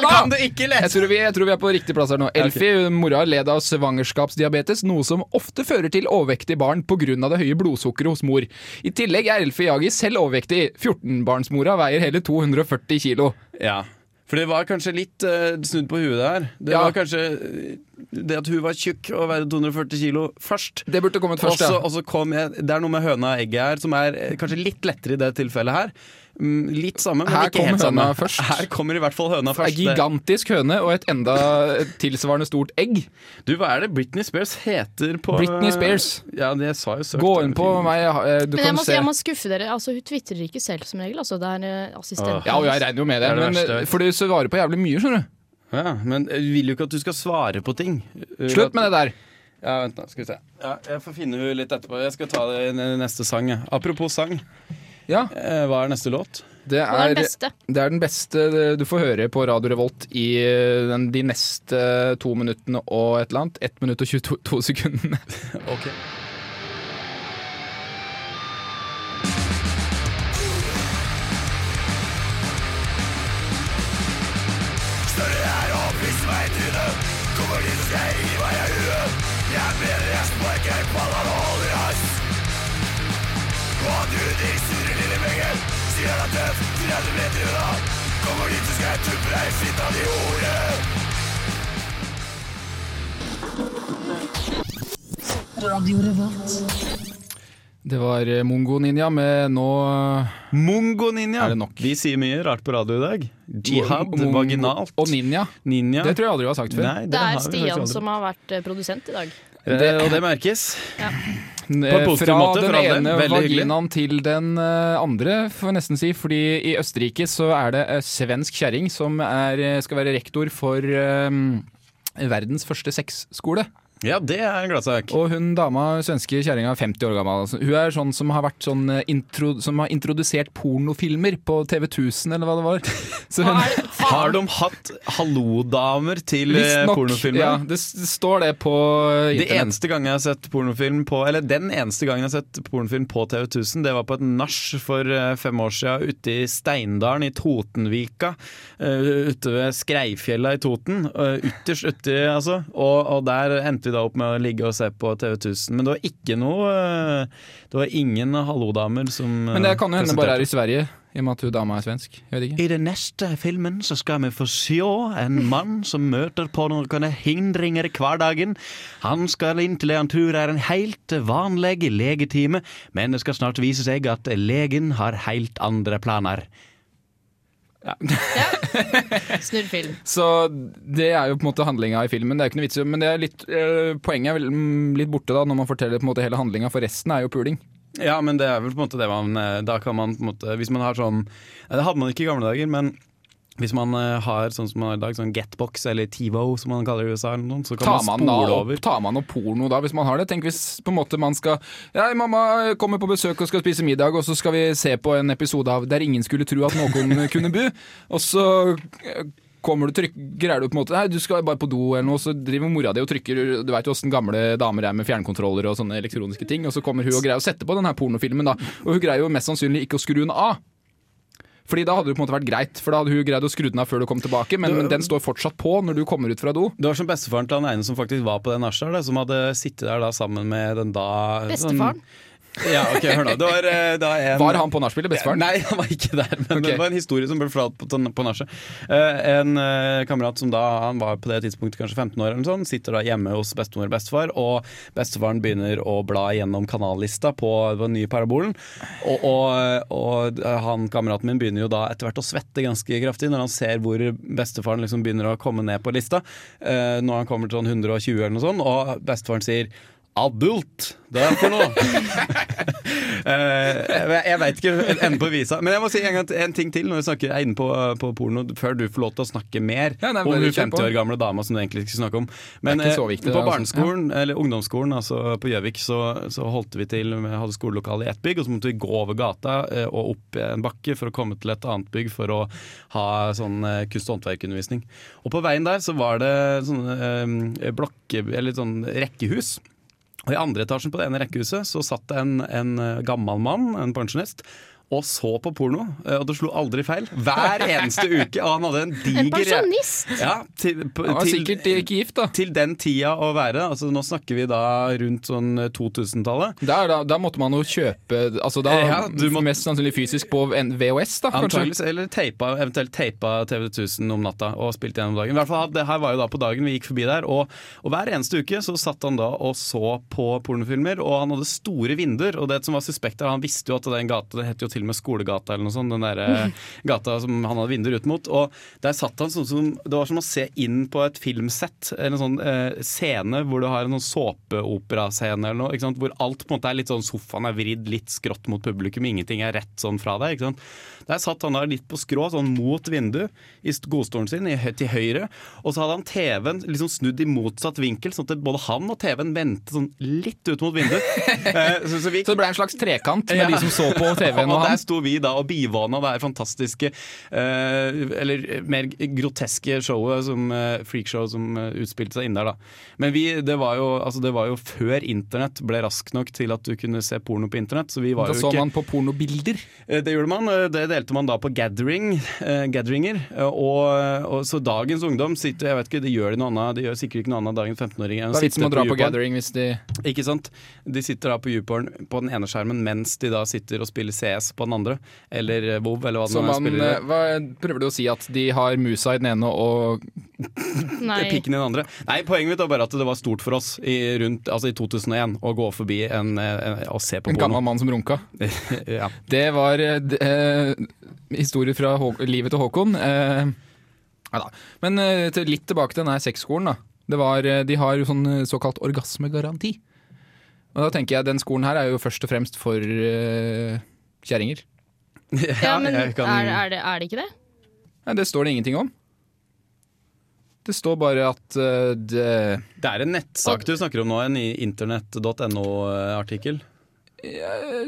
Speaker 3: da!
Speaker 4: ikke
Speaker 3: Jeg tror, vi, jeg tror vi er på riktig plass her nå.
Speaker 4: Ja, ok.
Speaker 3: Elfi, mora, led av svangerskapsdiabetes, noe som ofte fører til overvektige barn pga. det høye blodsukkeret hos mor. I tillegg er Elfi Jagi selv overvektig. 14-barnsmora veier hele 240 kilo.
Speaker 4: Ja. For det var kanskje litt eh, snudd på huet her. Det
Speaker 3: Ja.
Speaker 4: var kanskje eh, det at hun var tjukk og veide 240 kilo først.
Speaker 3: Det burde kommet først,
Speaker 4: Også-
Speaker 3: ja.
Speaker 4: Og så kom jeg, Det er noe med høna og egget her som er eh, kanskje litt lettere i det tilfellet her. Mm, Litt samme, men
Speaker 3: Her
Speaker 4: ikke helt
Speaker 3: kom
Speaker 4: samme.
Speaker 3: høna først.
Speaker 4: Her kommer i hvert fall høna
Speaker 3: En
Speaker 4: først. Det-
Speaker 3: gigantisk høne og et enda tilsvarende stort egg.
Speaker 4: Du, hva er det Britney Spears heter på
Speaker 3: Britney Spears.
Speaker 4: Ja, det sa jo søkt.
Speaker 3: Gå inn på meg, eh, du
Speaker 2: Men jeg
Speaker 3: kan
Speaker 2: må,
Speaker 3: se.
Speaker 2: jeg må skuffe dere. Altså, hun tvitrer ikke selv som regel. Altså, det er eh, assistenten.
Speaker 3: Ja, og jeg regner jo med det,
Speaker 4: Det er det
Speaker 3: men,
Speaker 4: verste jeg
Speaker 3: eh,
Speaker 4: vet.
Speaker 3: for du svarer på jævlig mye, skjønner du.
Speaker 4: Ja, men jeg vil jo ikke at du skal svare på ting.
Speaker 3: Slutt med det der.
Speaker 4: Ja, vent da, skal vi se. Ja, jeg får finne henne litt etterpå. Jeg skal ta det i n- neste sang. jeg. Apropos sang,
Speaker 3: Ja,
Speaker 4: eh, hva er neste låt?
Speaker 3: det
Speaker 2: Hun er
Speaker 3: er,
Speaker 2: den beste.
Speaker 3: det er den beste du får høre på Radio Revolt i eh, den, de neste to minuttene og et eller annet. 1 minutt og 22 to sekundene.
Speaker 4: <laughs>
Speaker 3: <laughs>
Speaker 4: Ok.
Speaker 3: Det var eh, Mongo Ninja med nå
Speaker 4: Mongo Ninja.
Speaker 3: Er det nok?
Speaker 4: Vi sier mye rart på radio i dag. Jihad,
Speaker 3: Mongo-
Speaker 4: vaginalt.
Speaker 3: Og Ninja.
Speaker 4: Ninja.
Speaker 3: Det tror jeg aldri du har sagt før.
Speaker 4: Nei, det,
Speaker 2: Det
Speaker 4: har
Speaker 2: er
Speaker 4: vi faktisk
Speaker 2: Stian
Speaker 4: aldri.
Speaker 2: som har vært eh, produsent i dag.
Speaker 4: Eh, Og det merkes.
Speaker 3: Eh,
Speaker 4: På en positiv
Speaker 3: Fra
Speaker 4: måte,
Speaker 3: den
Speaker 4: for all del.
Speaker 3: ene
Speaker 4: Veldig hyggelig.
Speaker 3: vaginaen til den eh, andre, får jeg nesten si. Fordi i Østerrike så er det eh, svensk kjerring som er, eh, skal være rektor for eh, verdens første sexskole.
Speaker 4: Ja, det er en gladsak.
Speaker 3: Og hun dama, svenske kjerringa, 50 år gammel. altså. Hun er sånn som har vært sånn eh, intro, Som har introdusert pornofilmer på TV 1000, eller hva det var. <laughs> Så hun,
Speaker 2: Er det,
Speaker 4: Har de hatt hallodamer til eh,
Speaker 3: Visstnok,
Speaker 4: pornofilmer?
Speaker 3: Ja, det s- står det på eh,
Speaker 4: Det
Speaker 3: internett.
Speaker 4: eneste gangen jeg har sett pornofilm på Eller den eneste gangen jeg har sett pornofilm på TV 1000, det var på et nach for eh, fem år siden ute i Steindalen i Totenvika. eh, Ute ved Skreifjella i Toten. eh, Ytterst uti, altså. Og, og der endte vi da opp med å ligge og se på TV 1000. Men det var ikke noe eh, Det var ingen hallodamer som eh,
Speaker 3: Men det kan jo hende bare er i Sverige, i og med at hun dama er svensk. Jeg vet ikke.
Speaker 4: i den neste filmen så skal vi få se en mann som møter på noen hindringer i hverdagen. Han skal inn til det han tror er en helt vanlig legetime, men det skal snart vise seg at legen har helt andre planer.
Speaker 2: Snurr film.
Speaker 3: Så det er jo på en måte handlinga i filmen. Det er jo ikke noe vits i Men det er litt, eh, poenget er vel mm, litt borte da når man forteller på en måte hele handlinga, for resten er jo puling.
Speaker 4: Ja, men det er vel på en måte det man eh, Da kan man på en måte Hvis man har sånn eh, Det hadde man ikke i gamle dager, men hvis man eh, har sånn som man har i dag, sånn getbox eller TiVo som man kaller det i USA, eller noe, så kan
Speaker 3: Tar
Speaker 4: man
Speaker 3: man, da
Speaker 4: spole
Speaker 3: opp,
Speaker 4: over.
Speaker 3: tar man opp porno da, hvis man har det? Tenk hvis på en måte man skal Ja, mamma kommer på besøk og skal spise middag, og så
Speaker 4: <laughs>
Speaker 3: skal vi se på en episode av Der ingen skulle tro at noen kunne bu. Og så eh, kommer du trykk, greier du på en måte Nei, du skal bare på do eller noe, så driver mora di og trykker Du veit jo åssen gamle damer er med fjernkontroller og sånne elektroniske ting, og så kommer hun og greier å sette på den her pornofilmen, da. Og hun greier jo mest sannsynlig ikke å skru den av. Fordi da hadde det på en måte vært greit, for da hadde hun greid å skru den av før du kom tilbake, men, men den står fortsatt på når du kommer ut fra do.
Speaker 4: Det var som bestefaren til han ene som faktisk var på det nachet, her, da, som hadde sittet der da sammen med den da
Speaker 2: Bestefaren.
Speaker 4: Sånn, ja, ok, hør nå. Det var eh, da en
Speaker 3: Var han på nachspielet, bestefaren?
Speaker 4: Nei, han var ikke der, men
Speaker 3: Ok.
Speaker 4: det var en historie som ble fortalt på, på nachet. Eh, en eh, kamerat som da han var på det tidspunktet kanskje 15 år, eller sånn, sitter da hjemme hos bestemor og bestefar, og bestefaren begynner å bla gjennom kanallista på den nye parabolen. Og, og, og eh, han kameraten min begynner jo da etter hvert å svette ganske kraftig når han ser hvor bestefaren liksom begynner å komme ned på lista. Eh, når han kommer til sånn 120 eller noe sånt, og bestefaren sier Adult! Det er for noe! Eh, jeg jeg veit ikke enden på visa. Men jeg må si en, gang, en ting til når vi snakker er inne på, på porno, før du får lov til å snakke mer
Speaker 3: Ja, nei,
Speaker 4: om
Speaker 3: bare
Speaker 4: hun
Speaker 3: kjør på.
Speaker 4: 50 år gamle dama som du egentlig ikke skulle snakke om. Men
Speaker 3: Det er ikke
Speaker 4: eh,
Speaker 3: så viktig, det,
Speaker 4: på
Speaker 3: altså.
Speaker 4: barneskolen, eller ungdomsskolen altså på Gjøvik, så, så holdt vi til Vi hadde skolelokale i ett bygg, og så måtte vi gå over gata eh, og opp en bakke for å komme til et annet bygg for å ha sånn eh, kunst- og håndverkundervisning. Og på veien der så var det sånne eh, blokke... Eller sånn rekkehus. Og I andre etasjen på det ene rekkehuset så satt det en, en eh, gammel mann, en pensjonist, og så på porno. eh, Og det slo aldri feil.
Speaker 2: <laughs>
Speaker 4: Hver eneste uke. Og han hadde en diger
Speaker 2: En pensjonist!
Speaker 4: Ja, til, på,
Speaker 3: Han var
Speaker 4: til,
Speaker 3: sikkert eh, ikke gift, da.
Speaker 4: til den tida å være. Altså, nå snakker vi da rundt sånn 2000-tallet.
Speaker 3: Der, da, da måtte man jo kjøpe altså da,
Speaker 4: Ja, du må-
Speaker 3: Mest sannsynlig fysisk på en VHS, da, kanskje.
Speaker 4: Antageligvis, eller teipa, eventuelt teipa TV 1000 om natta og spilte gjennom dagen. I hvert fall, det her var jo da på dagen vi gikk forbi der, og, og hver eneste uke så satt han da og så på pornofilmer, og han hadde store vinduer, og det som var suspekt der, han visste jo at den gata, det het jo til og med Skolegata eller noe sånt, den der eh, gata som han hadde vinduer ut mot, og der satt han sånn som, det var som å se inn på et filmsett, eller en sånn eh, scene hvor du har en sånn såpeoperascene eller noe, ikke sant, hvor alt på en måte er litt sånn, sofaen er vridd litt skrått mot publikum, ingenting er rett sånn fra deg, ikke sant. Der satt han da litt på skrå, sånn mot vinduet, i st- godstolen sin, i, hø- til høyre. Og så hadde han TV-en liksom snudd i motsatt vinkel, sånn at både han og TV-en vendte sånn litt ut mot vinduet.
Speaker 3: <laughs>
Speaker 4: Eh, så, så vi
Speaker 3: Så det ble en slags trekant med
Speaker 4: Ja.
Speaker 3: de som så
Speaker 4: <laughs>
Speaker 3: på TV-en
Speaker 4: og,
Speaker 3: og
Speaker 4: der
Speaker 3: han.
Speaker 4: sto vi da og bivåna det her fantastiske, eh, eller mer groteske showet, som, eh, freakshow som eh, utspilte seg inne der, da. Men vi, det var, jo, altså, det var jo før internett ble rask nok til at du kunne se porno på internett, så vi var
Speaker 3: Da
Speaker 4: jo
Speaker 3: så
Speaker 4: ikke
Speaker 3: man på pornobilder.
Speaker 4: Eh, Det gjorde man. eh, Det delte man da på gathering, eh, gatheringer. eh, Og, og så dagens ungdom sitter Jeg vet ikke, de gjør, det noe annet, de gjør sikkert ikke noe annet dagens 15-åringer enn
Speaker 3: Da er
Speaker 4: å
Speaker 3: vitsen
Speaker 4: sitte
Speaker 3: med å dra på
Speaker 4: YouPorn.
Speaker 3: gathering hvis de
Speaker 4: Ikke sant? De sitter da på YouPorn på den ene skjermen mens de da sitter og spiller CS på den andre. Eller eh, WoW, eller hva
Speaker 3: Så
Speaker 4: det nå er.
Speaker 3: man,
Speaker 4: spiller
Speaker 3: eh, hva, prøver du å si at de har musa i den ene og
Speaker 2: Nei.
Speaker 4: eh, pikken i den andre. Nei, poenget mitt var bare at det var stort for oss i, rundt, altså i 2001 å gå forbi en, eh, en, og se på
Speaker 3: en gammel
Speaker 4: porno.
Speaker 3: mann som runka?
Speaker 4: <laughs> ja.
Speaker 3: Det var eh, d- eh, historier fra Hå livet til Håkon. Eh, ja da. Men eh, til, litt tilbake til denne sexskolen. da. Det var, eh, de har jo sånn eh, såkalt orgasmegaranti. Og da tenker jeg Den skolen her er jo først og fremst for eh, kjerringer.
Speaker 2: Ja, men
Speaker 4: jeg kan-
Speaker 2: er, er, det, er det ikke det?
Speaker 3: Nei, det står det ingenting om. Det står bare at eh, det
Speaker 4: Det er en nettsak du snakker om nå, en i internett.no-artikkel. eh,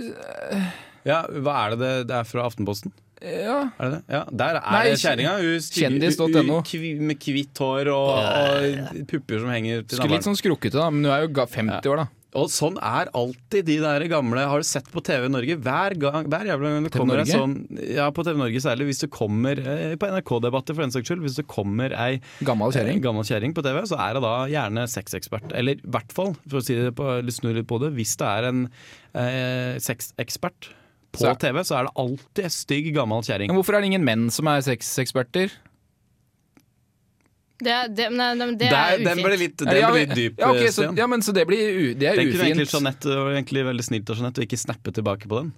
Speaker 4: Ja, hva er det det, det er fra Aftenposten?
Speaker 3: eh, Ja.
Speaker 4: Er det det? Ja, der er
Speaker 3: Nei,
Speaker 4: det kjerringa. Hun stygge-
Speaker 3: kjendis.no.
Speaker 4: hun- hun kvi- Med hvitt hår og, og pupper som henger til
Speaker 3: Skulle Litt
Speaker 4: navlen.
Speaker 3: sånn skrukkete, da, men du er jo ga- 50 år, da.
Speaker 4: Og sånn er alltid de der gamle Har du sett på TV Norge? Hver, gang, hver jævla gang det
Speaker 3: TV
Speaker 4: kommer
Speaker 3: Norge?
Speaker 4: en sånn Ja, på TV Norge særlig. Hvis det kommer eh, På NRK-debatter, for den saks skyld. Hvis det kommer ei
Speaker 3: Gammel
Speaker 4: en
Speaker 3: kjerring.
Speaker 4: Eh, gammel kjerring på TV, så er det da gjerne sexekspert. Eller i hvert fall, for å si det på, eller snu litt på det, hvis det er en eh, sexekspert på
Speaker 3: Så-
Speaker 4: TV, så er det alltid en stygg gammel kjerring.
Speaker 3: Men hvorfor er det ingen menn som er sexeksperter?
Speaker 2: Det, er- det, nei, nei, men det
Speaker 4: Der-
Speaker 2: er
Speaker 4: Den ble
Speaker 2: ufint.
Speaker 4: litt, den
Speaker 3: ja,
Speaker 4: ble
Speaker 3: men-
Speaker 4: dyp, eh,
Speaker 3: ja, ok, så,
Speaker 4: Stian.
Speaker 3: ja, men så det blir u, det er
Speaker 4: Den kunne egentlig
Speaker 3: ufint.
Speaker 4: sånn Jeanette, det var egentlig veldig snilt av Jeanette å ikke snappe tilbake på den.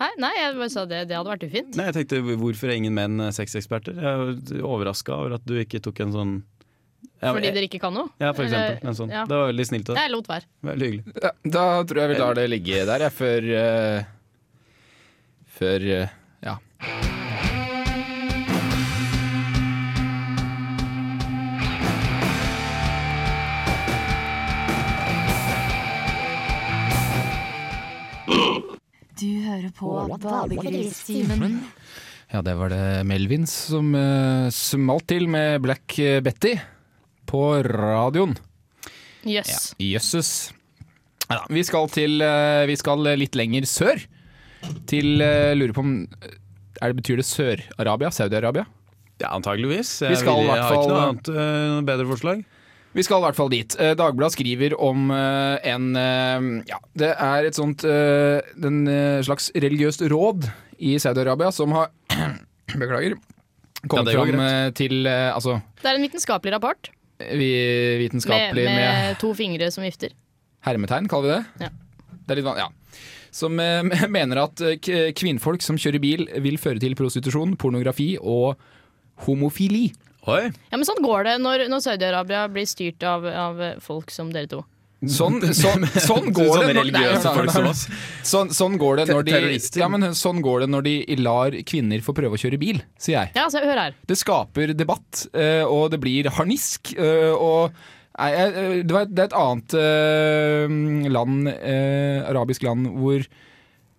Speaker 2: Hæ? Nei, jeg bare sa det. Det hadde vært ufint.
Speaker 4: Nei, jeg tenkte hvorfor er ingen menn sexeksperter? Jeg er overraska over at du ikke tok en sånn ja,
Speaker 2: Fordi dere ikke kan noe?
Speaker 4: ja, for eksempel.
Speaker 2: Eller-
Speaker 4: En sånn.
Speaker 2: Ja.
Speaker 4: Det var veldig snilt av deg.
Speaker 2: Jeg lot være.
Speaker 4: Veldig hyggelig.
Speaker 3: Ja, da tror jeg vi lar det ligge der, jeg, før eh, Før eh, ja.
Speaker 1: Du hører på Badegristimen.
Speaker 3: Ja, det var det Melvins som eh, smalt til med Black Betty på radioen.
Speaker 2: Jøss.
Speaker 3: Ja, Jøsses. Neida, vi, skal til, eh, vi skal litt lenger sør. Til eh, Lurer på om er det, Betyr det Sør-Arabia? Saudi-Arabia?
Speaker 4: Ja, antageligvis.
Speaker 3: Vi skal i
Speaker 4: jeg
Speaker 3: hvert
Speaker 4: har ikke noe
Speaker 3: fall-
Speaker 4: annet, eh, noe bedre forslag.
Speaker 3: Vi skal i hvert fall dit. Eh, Dagbladet skriver om eh, en eh, Ja, det er et sånt eh, den, eh, slags religiøst råd i Saudi-Arabia som har <clears throat> Beklager. Kommet
Speaker 4: det går
Speaker 3: fram eh, til eh, altså
Speaker 2: Det er en vitenskapelig rapport
Speaker 3: vi-
Speaker 2: med,
Speaker 3: vitenskapelig med,
Speaker 2: med to fingre som vifter.
Speaker 3: hermetegn, kaller vi det?
Speaker 2: Ja.
Speaker 3: Det er litt van- ja. Som eh, <laughs> mener at eh, k- kvinnfolk som kjører bil, vil føre til prostitusjon, pornografi og homofili.
Speaker 4: Oi,
Speaker 2: Ja, men Sånn går det når, når Saudi-Arabia blir styrt av, av folk som dere to.
Speaker 3: Sånn,
Speaker 4: <laughs>
Speaker 3: sånn, sånn går
Speaker 4: Sånne
Speaker 3: det når- Nei,
Speaker 4: religiøse
Speaker 3: nei, nei,
Speaker 4: folk som
Speaker 3: nei.
Speaker 4: oss.
Speaker 3: Sånn, sånn, går det når
Speaker 4: Te-
Speaker 3: de,
Speaker 4: terrorister.
Speaker 3: ja, men sånn går det når de lar kvinner få prøve å kjøre bil, sier jeg.
Speaker 2: Ja, så Hør her.
Speaker 3: Det skaper debatt, eh, og det blir harnisk. eh, og nei, jeg- eh, det, var, det er et annet eh, land, eh, arabisk land, hvor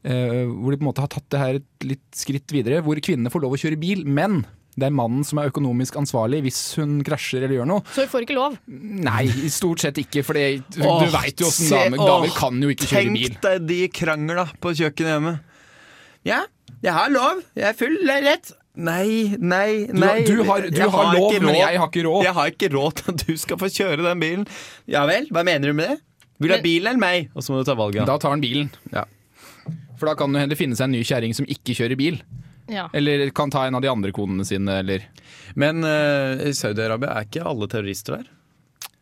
Speaker 3: eh, hvor de på en måte har tatt det her et litt skritt videre. Hvor kvinnene får lov å kjøre bil, men det er mannen som er økonomisk ansvarlig hvis hun krasjer eller gjør noe.
Speaker 2: Så vi får ikke lov.
Speaker 3: Nei, stort sett ikke, for det, du,
Speaker 4: Åh,
Speaker 3: du veit jo åssen
Speaker 4: se-
Speaker 3: damer Damer
Speaker 4: åh,
Speaker 3: kan jo ikke kjøre bil.
Speaker 4: Tenk deg de krangla på kjøkkenet hjemme. Ja, jeg har lov. Jeg er full, det er rett. Nei, nei,
Speaker 3: Du,
Speaker 4: nei.
Speaker 3: du har, du
Speaker 4: Jeg
Speaker 3: har lov,
Speaker 4: ikke
Speaker 3: men
Speaker 4: råd.
Speaker 3: jeg har ikke råd.
Speaker 4: Jeg har ikke råd til at du skal få kjøre den bilen. Ja vel, hva mener du med det? Vil du ha
Speaker 2: Men-
Speaker 4: bilen eller meg? Og så må du ta valget.
Speaker 3: Da tar han bilen.
Speaker 4: Ja.
Speaker 3: For da kan det hende finne seg en ny kjerring som ikke kjører bil.
Speaker 2: Ja.
Speaker 3: Eller kan ta en av de andre konene sine, eller
Speaker 4: Men eh, i Saudi-Arabia er ikke alle terrorister der?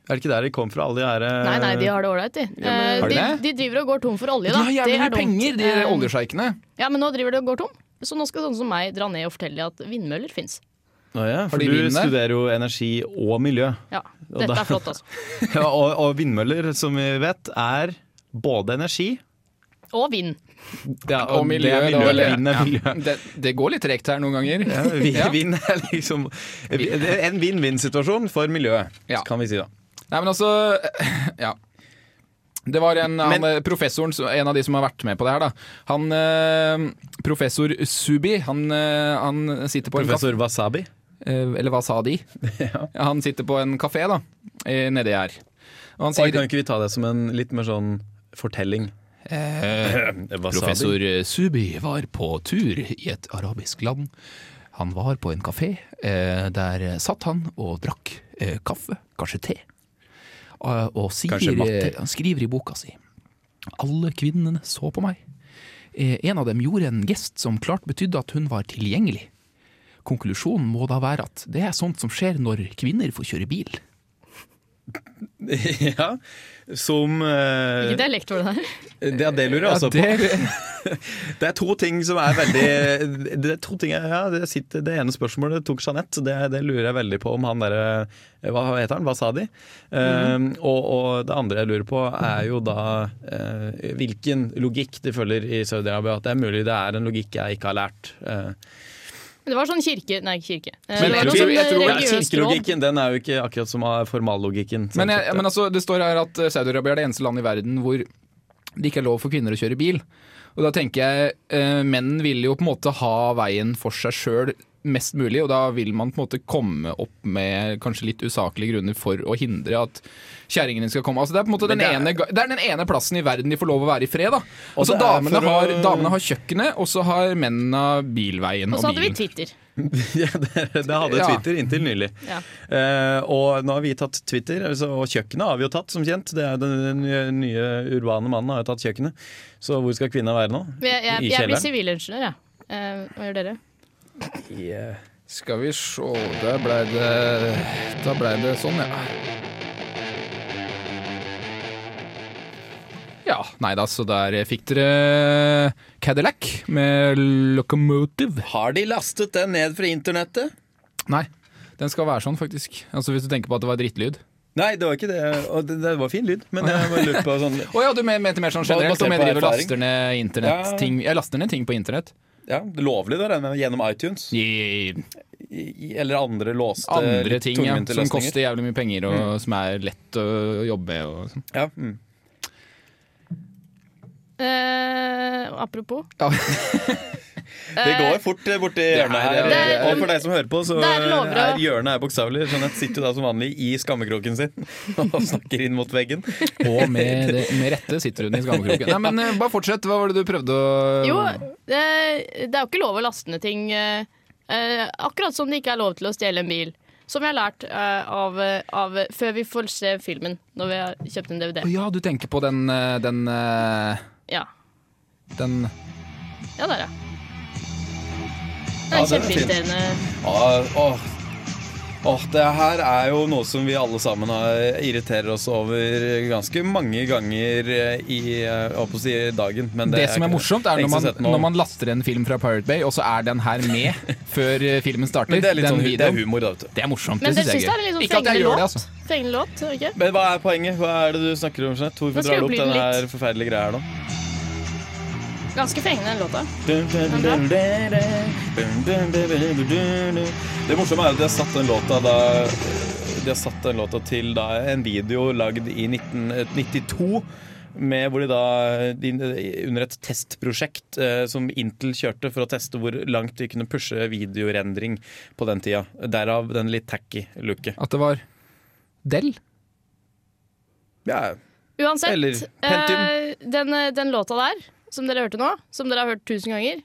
Speaker 4: Er det ikke der de kom fra, alle de her eh,
Speaker 2: Nei, nei, de har det ålreit, de. Eh,
Speaker 3: Har
Speaker 2: de,
Speaker 3: de det?
Speaker 2: de driver og går tom for olje,
Speaker 3: De
Speaker 2: da.
Speaker 3: har
Speaker 2: Det
Speaker 3: jævlig
Speaker 2: er
Speaker 3: mye
Speaker 2: dumt.
Speaker 3: penger, de
Speaker 2: Eh,
Speaker 3: oljesjeikene.
Speaker 2: Ja, men nå driver de og går tom. Så nå skal sånne som meg dra ned og fortelle at vindmøller fins.
Speaker 4: Å ja, for
Speaker 3: de
Speaker 4: du
Speaker 3: bilen der?
Speaker 4: studerer jo energi og miljø.
Speaker 2: Ja,
Speaker 4: Og
Speaker 2: dette
Speaker 4: da-
Speaker 2: er flott, altså.
Speaker 4: <laughs> Ja, og, og vindmøller, som vi vet, er både energi
Speaker 2: Og vind.
Speaker 4: ja,
Speaker 3: Og miljø.
Speaker 4: Det er
Speaker 3: da,
Speaker 4: miljø,
Speaker 3: eller-
Speaker 4: Vind er miljø.
Speaker 3: Ja, det, det går litt tregt her noen ganger.
Speaker 4: Ja, vi-
Speaker 3: Ja.
Speaker 4: <laughs> Vind er liksom det er En vinn-vinn-situasjon for miljøet,
Speaker 3: Ja.
Speaker 4: kan vi si da.
Speaker 3: Nei, men altså Ja. Det var en, han,
Speaker 4: Men-
Speaker 3: eh, professoren, som- en av de som har vært med på det her, da. Han eh, Professor Subi, han, eh, han sitter på en kafé
Speaker 4: Professor Wasabi.
Speaker 3: Eh, Eller hva sa
Speaker 4: <laughs>
Speaker 3: de? Han sitter på en kafé da, eh, nedi her. Og han
Speaker 4: Oi,
Speaker 3: sier
Speaker 4: kan ikke vi ta det som en litt mer sånn fortelling? <clears throat> Wasabi.
Speaker 3: Eh, Professor Subi var på tur i et arabisk land. Han var på en kafé. eh, Der satt han og drakk eh, kaffe, kanskje te. Eh, Og
Speaker 4: Kanskje
Speaker 3: sier,
Speaker 4: matte.
Speaker 3: eh, han skriver i boka si Alle kvinnene så på meg. Eh, En av dem gjorde en gest som klart betydde at hun var tilgjengelig. Konklusjonen må da være at det er sånt som skjer når kvinner får kjøre bil.
Speaker 4: <laughs> ja, som eh,
Speaker 2: Ikke dialekt var det der.
Speaker 4: Ja, det lurer altså, jeg også på.
Speaker 3: det,
Speaker 4: Det er to ting som er veldig Det er to ting, jeg- ja, det, sitter, det ene spørsmålet tok Jeanette, det, det lurer jeg veldig på om han derre Hva heter han? Wasadi?
Speaker 3: Mhm.
Speaker 4: Eh, og, og det andre jeg lurer på, er jo da eh, hvilken logikk de følger i Saudi-Arabia. At det er mulig det er en logikk jeg ikke har lært. Eh,
Speaker 2: Det var sånn kirke Nei, ikke kirke. Eh,
Speaker 3: Men
Speaker 2: det var
Speaker 3: jeg
Speaker 2: noe
Speaker 3: tror-
Speaker 2: sånn
Speaker 3: jeg tror-
Speaker 4: ja,
Speaker 2: religiøst råd.
Speaker 4: kirkelogikken den er jo ikke akkurat som formallogikken. sånn
Speaker 3: men,
Speaker 4: sett.
Speaker 3: jeg, men altså, det står her at eh, Saudi-Arabia er det eneste landet i verden hvor det ikke er lov for kvinner å kjøre bil. Og da tenker jeg eh, menn vil jo på en måte ha veien for seg sjøl mest mulig, og da vil man på en måte komme opp med kanskje litt usaklige grunner for å hindre at kjerringene skal komme. Altså Det er på en måte den,
Speaker 4: Men
Speaker 3: ene,
Speaker 4: det er-
Speaker 3: ga- det er den ene plassen i verden de får lov å være i fred. da.
Speaker 4: Og
Speaker 3: Altså
Speaker 4: det er
Speaker 3: damene,
Speaker 4: for å-
Speaker 3: har, damene har kjøkkenet, og så har mennene bilveien
Speaker 2: Og
Speaker 3: og,
Speaker 2: så hadde vi
Speaker 3: bilen.
Speaker 2: Twitter.
Speaker 4: <laughs> ja, det, det hadde
Speaker 3: Ja.
Speaker 4: Twitter inntil nylig.
Speaker 2: Ja.
Speaker 4: Eh, og nå har vi tatt Twitter, altså, og kjøkkenet har vi jo tatt, som kjent. Det er den, den nye, nye urbane mannen har jo tatt kjøkkenet. Så hvor skal kvinna være nå?
Speaker 2: Jeg, jeg,
Speaker 4: I
Speaker 2: jeg blir
Speaker 4: kjelleren?
Speaker 2: sivilingeniør, jeg. Eh, hva gjør dere?
Speaker 3: Skal vi se, der blei det, da ble det sånn, ja. Ja, nei da, så der fikk dere Cadillac med Locomotive.
Speaker 4: Har de lastet den ned fra internettet?
Speaker 3: Nei, den skal være sånn faktisk. Altså Hvis du tenker på at det var drittlyd.
Speaker 4: Nei, det var ikke det. Og det, det var fin lyd, men jeg bare lurte på sånn
Speaker 3: Å ja, du men- mente mer sånn
Speaker 4: Bare
Speaker 3: generelt?
Speaker 4: basert
Speaker 3: Om jeg
Speaker 4: på
Speaker 3: driver og
Speaker 4: erfaring.
Speaker 3: laster ned internettting? Jeg laster ned ting på internett.
Speaker 4: <laughs> Ja, lovlig, da, regner jeg med, gjennom iTunes?
Speaker 3: I
Speaker 4: I, eller andre låste
Speaker 3: andre
Speaker 4: litt
Speaker 3: ting ja,
Speaker 4: tungvinte
Speaker 3: som
Speaker 4: løsninger. Mm.
Speaker 3: koster jævlig mye penger, og som er lett å jobbe med. Og sånn.
Speaker 4: Ja, mm.
Speaker 2: Eh, apropos.
Speaker 3: Ja.
Speaker 6: Det går fort eh, borti hjørnet her.
Speaker 3: Det
Speaker 2: er-
Speaker 6: og for deg som hører på, så
Speaker 2: Det er lover å-
Speaker 6: er hjørnet er bokstavelig. Sånn at sitter jo da som vanlig i skammekroken sin <laughs> og snakker inn mot veggen.
Speaker 3: Og med, det, med rette sitter hun i skammekroken. Nei, men eh, bare fortsett. Hva var det du prøvde å
Speaker 2: Jo, det, det er jo ikke lov å laste ned ting. eh, eh, akkurat som det ikke er lov til å stjele en bil. Som jeg har lært eh, av, av før vi får se filmen, når vi har kjøpt en DVD.
Speaker 3: Å ja, du tenker på den eh, den, eh,
Speaker 2: Ja,
Speaker 3: den
Speaker 2: ja der, ja. Det
Speaker 6: Ja,
Speaker 2: er en eh,
Speaker 6: den er fin.
Speaker 2: kjempeirriterende
Speaker 6: Ja, Ah, Åh, åh, det her er jo noe som vi alle sammen har, irriterer oss over ganske mange ganger eh, i eh, jeg holdt på å si dagen. Men
Speaker 3: det,
Speaker 6: det,
Speaker 3: som er
Speaker 6: ikke
Speaker 3: morsomt, er
Speaker 6: Det
Speaker 3: når
Speaker 6: ikke så
Speaker 3: man,
Speaker 6: sett nå.
Speaker 3: når man laster en film fra Pirate Bay, og så er den her med før eh, filmen starter.
Speaker 6: Men det er litt
Speaker 3: den
Speaker 6: sånn, det er
Speaker 3: videoen.
Speaker 6: humor, da, vet du.
Speaker 3: Det er morsomt.
Speaker 2: Men
Speaker 3: det
Speaker 2: dere
Speaker 3: syns
Speaker 2: syns
Speaker 3: jeg
Speaker 2: det er
Speaker 3: er
Speaker 2: litt
Speaker 3: gøy.
Speaker 2: sånn
Speaker 3: Ikke at jeg
Speaker 2: fengende
Speaker 3: gjør det,
Speaker 2: låt?
Speaker 3: altså.
Speaker 2: Fengende låt, er det ikke?
Speaker 6: Men hva er poenget? Hva er det du snakker om? Jeanette?
Speaker 2: Nå
Speaker 6: Hvorfor
Speaker 2: skal
Speaker 6: drar du
Speaker 2: jeg
Speaker 6: opp
Speaker 2: bli
Speaker 6: den
Speaker 2: litt-
Speaker 6: her forferdelige greia her nå?
Speaker 2: Ganske fengende, den låta.
Speaker 6: Det morsomme er at de har satt den låta da De har satt den låta til da en video lagd i 1992. Med hvor de da de, Under et testprosjekt eh, som Intel kjørte for å teste hvor langt de kunne pushe videorendring på den tida. Derav den litt tacky looket.
Speaker 3: At det var Del?
Speaker 6: Ja,
Speaker 2: Uansett,
Speaker 6: Eller Pentium.
Speaker 2: eh, den, den låta der, som dere hørte nå, som dere har hørt tusen ganger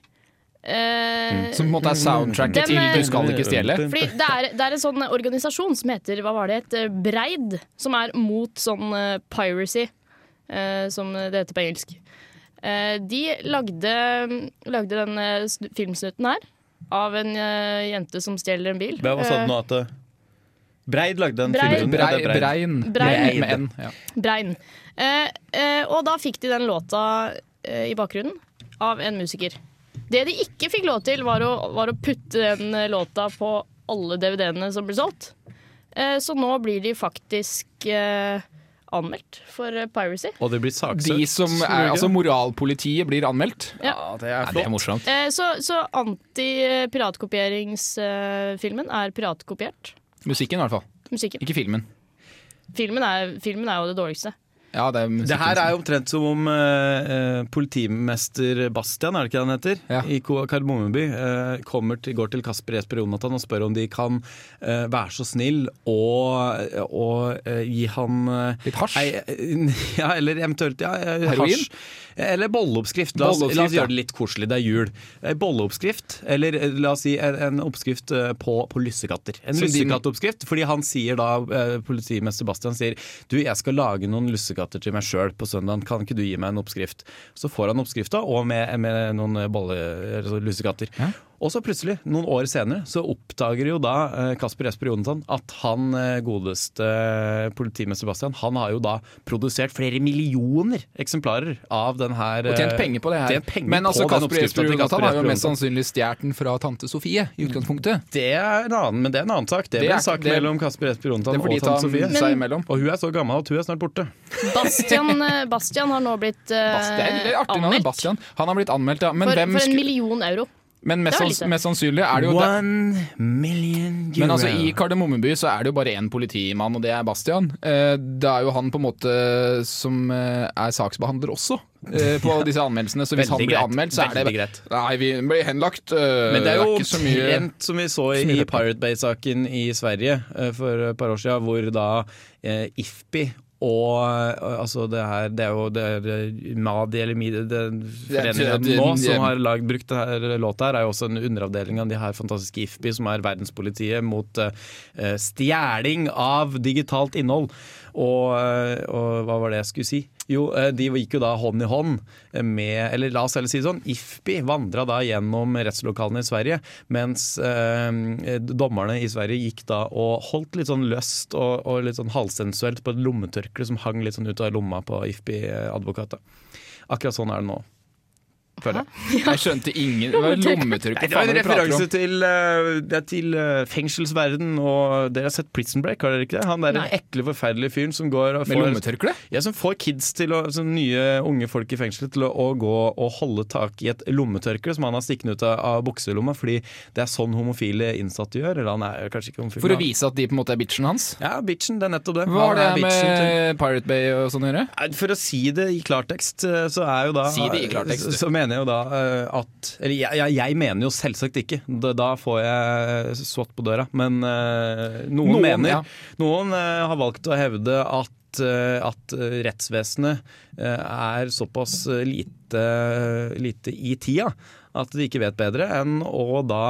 Speaker 2: eh,
Speaker 3: Som på en måte er
Speaker 6: Mm.
Speaker 3: soundtracket
Speaker 2: Den, eh,
Speaker 3: til Du skal ikke stjele?
Speaker 2: Fordi det er, det er en sånn organisasjon som heter hva var det het, Breid, som er mot sånn eh, piracy, eh, som det heter på engelsk. Eh, de lagde, lagde den eh, snu- filmsnutten her av en eh, jente som stjeler en bil.
Speaker 6: Hva hva
Speaker 4: sånn?
Speaker 6: sa du nå? At det- Breid lagde en
Speaker 2: Breid.
Speaker 6: film. Ja,
Speaker 3: Brei,
Speaker 6: det er Breid.
Speaker 3: brein.
Speaker 2: Brein.
Speaker 3: Med, med N. Ja.
Speaker 2: Eh, Brein. Eh, eh, og da fikk de den låta eh, i bakgrunnen av en musiker. Det de ikke fikk lov til, var å, var å putte den eh, låta på alle DVD-ene som ble solgt. Eh, så nå blir de faktisk eh, anmeldt for eh, piracy.
Speaker 6: Og det blir saksøkt.
Speaker 3: De som er, altså Moralpolitiet blir anmeldt.
Speaker 2: Ja.
Speaker 3: det er det er morsomt.
Speaker 2: Eh, så så anti-piratkopieringsfilmen eh, er piratkopiert.
Speaker 3: Musikken, i hvert fall.
Speaker 2: Musikken.
Speaker 3: Ikke filmen.
Speaker 2: Filmen er, filmen er jo det dårligste.
Speaker 3: Ja, det, er
Speaker 4: Det
Speaker 3: musikken
Speaker 4: her
Speaker 3: som-
Speaker 4: er jo omtrent som om eh, eh, politimester Bastian, er det ikke han heter,
Speaker 3: Ja.
Speaker 4: i Ko- Kardemommeby, eh, kommer til, går til Kasper Jesper Jonathan og spør om de kan eh, være så snill og, og eh, gi han eh,
Speaker 3: Litt hasj?
Speaker 4: ei- eh, <laughs> ja, eller eventuelt ja, eh,
Speaker 3: Heroin?
Speaker 4: hasj. Eller bolleoppskrift. La oss, la
Speaker 3: Bolleoppskrift,
Speaker 4: oss
Speaker 3: ja.
Speaker 4: gjøre det litt koselig, det er jul. Eh, Bolleoppskrift, eller eh, la oss si en, en oppskrift eh, på, på lussekatter. En
Speaker 3: Som de-
Speaker 4: lussekattoppskrift, fordi han sier da, eh, politimester Bastian sier du, jeg skal lage noen lussekatter til meg sjøl på søndag, kan ikke du gi meg en oppskrift? Så får han oppskrifta, og med, med noen eh, bolle, eller så lussekatter. Og så plutselig, noen år senere, så oppdager jo da eh, Kasper Jesper Jonasson at han eh, godeste eh, politimester Bastian, han har jo da produsert flere millioner eksemplarer av den her
Speaker 3: Og tjent
Speaker 4: eh,
Speaker 3: penger på det her.
Speaker 4: tjent penger
Speaker 3: Men
Speaker 4: på
Speaker 3: altså,
Speaker 4: den
Speaker 3: Kasper
Speaker 4: oppskriften
Speaker 3: Jesper
Speaker 4: til
Speaker 3: Jonathan har
Speaker 4: Kasper
Speaker 3: jo
Speaker 4: Jesper
Speaker 3: mest
Speaker 4: Jonathan.
Speaker 3: sannsynlig stjålet den fra tante Sofie, i utgangspunktet.
Speaker 4: Det er en annen, men det er en annen sak. Det,
Speaker 3: Det
Speaker 4: ble
Speaker 3: er-
Speaker 4: en sak
Speaker 3: det-
Speaker 4: mellom Kasper Jesper
Speaker 3: Det
Speaker 4: Jonathan
Speaker 3: får de
Speaker 4: og
Speaker 3: ta
Speaker 4: tante Sofie.
Speaker 3: seg imellom.
Speaker 2: eh,
Speaker 4: Og hun er så gammel at hun er snart borte.
Speaker 2: Bastian, eh, Bastian har nå blitt eh,
Speaker 3: Bastian, det er artig navn,
Speaker 2: anmeldt
Speaker 3: Bastian. Han har blitt anmeldt, ja. Men,
Speaker 2: for,
Speaker 3: hvem
Speaker 2: for en
Speaker 3: sku-
Speaker 2: million euro.
Speaker 3: men
Speaker 2: Det
Speaker 3: mest,
Speaker 2: er
Speaker 3: sanns-
Speaker 2: lite.
Speaker 3: mest sannsynlig er det jo det,
Speaker 4: One million euro.
Speaker 3: Men altså, i Kardemommeby så er det jo bare én politimann, og det er Bastian. Eh, Det er jo han på en måte som eh, er saksbehandler også, eh, på
Speaker 4: <laughs>
Speaker 3: disse anmeldelsene. Så hvis
Speaker 4: Veldig
Speaker 3: han blir
Speaker 4: greit.
Speaker 3: anmeldt, så er
Speaker 4: Veldig
Speaker 3: det
Speaker 4: greit.
Speaker 3: Nei, vi blir henlagt. eh,
Speaker 4: Men det er jo
Speaker 3: ikke så mye
Speaker 4: omtrent som vi så i
Speaker 3: mye rødt.
Speaker 4: Pirate Bay-saken i Sverige eh, for et par år siden, hvor da eh, IFPI og eh, altså det her Det er jo det er eh, Madi eller Midi, den
Speaker 3: er-
Speaker 4: foreningen
Speaker 3: det er-
Speaker 4: nå som har lagd, brukt denne låta her, er jo også en underavdeling av de her fantastiske IFPI, som er verdenspolitiet mot eh, eh, stjeling av digitalt innhold. Og, eh, og hva var det jeg skulle si? Jo, eh, de gikk jo da hånd i hånd eh, med Eller la oss heller si det sånn, IFPI vandra da gjennom rettslokalene i Sverige, mens eh, dommerne i Sverige gikk da og holdt litt sånn løst og, og litt sånn halvsensuelt på et lommetørkle som hang litt sånn ut av lomma på IFPI-advokatet. Akkurat sånn er det nå. Føler jeg.
Speaker 3: Jeg skjønte
Speaker 4: <laughs>
Speaker 3: ingen Det var lommetørkle.
Speaker 4: Nei, det var
Speaker 3: Faen, hva prater
Speaker 4: en
Speaker 3: du om?
Speaker 4: referanse til, eh, det er til eh, fengselsverden, og dere har sett Prison Break, har dere ikke det? Han der
Speaker 2: Nei.
Speaker 4: den ekle, forferdelige fyren som går og
Speaker 3: Med
Speaker 4: får
Speaker 3: lommetørkle?
Speaker 4: ja, som får kids til å, som nye unge folk i fengselet til å, å gå og holde tak i et lommetørkle som han har stikkende ut av, av bukselomma, fordi det er sånn homofile innsatte gjør. Eller han er kanskje ikke homofil.
Speaker 3: For å
Speaker 4: men han-
Speaker 3: vise at de på en måte er bitchen hans?
Speaker 4: Ja, bitchen. Det er nettopp det.
Speaker 3: Hva har det
Speaker 4: Han er bitchen til-
Speaker 3: med Pirate Bay og sånn å gjøre?
Speaker 4: Nei, For å si det i klartekst, eh, så er jo da
Speaker 3: Si det i klartekst, du.
Speaker 4: Så mener mener jeg jo da eh, at Eller jeg, jeg, jeg mener jo selvsagt ikke. Da, da får jeg swat på døra. Men eh, noen,
Speaker 3: Noen,
Speaker 4: mener
Speaker 3: ja.
Speaker 4: Noen eh, har valgt å hevde at eh, at eh, rettsvesenet eh, er såpass eh, lite, lite i tida at de ikke vet bedre enn å da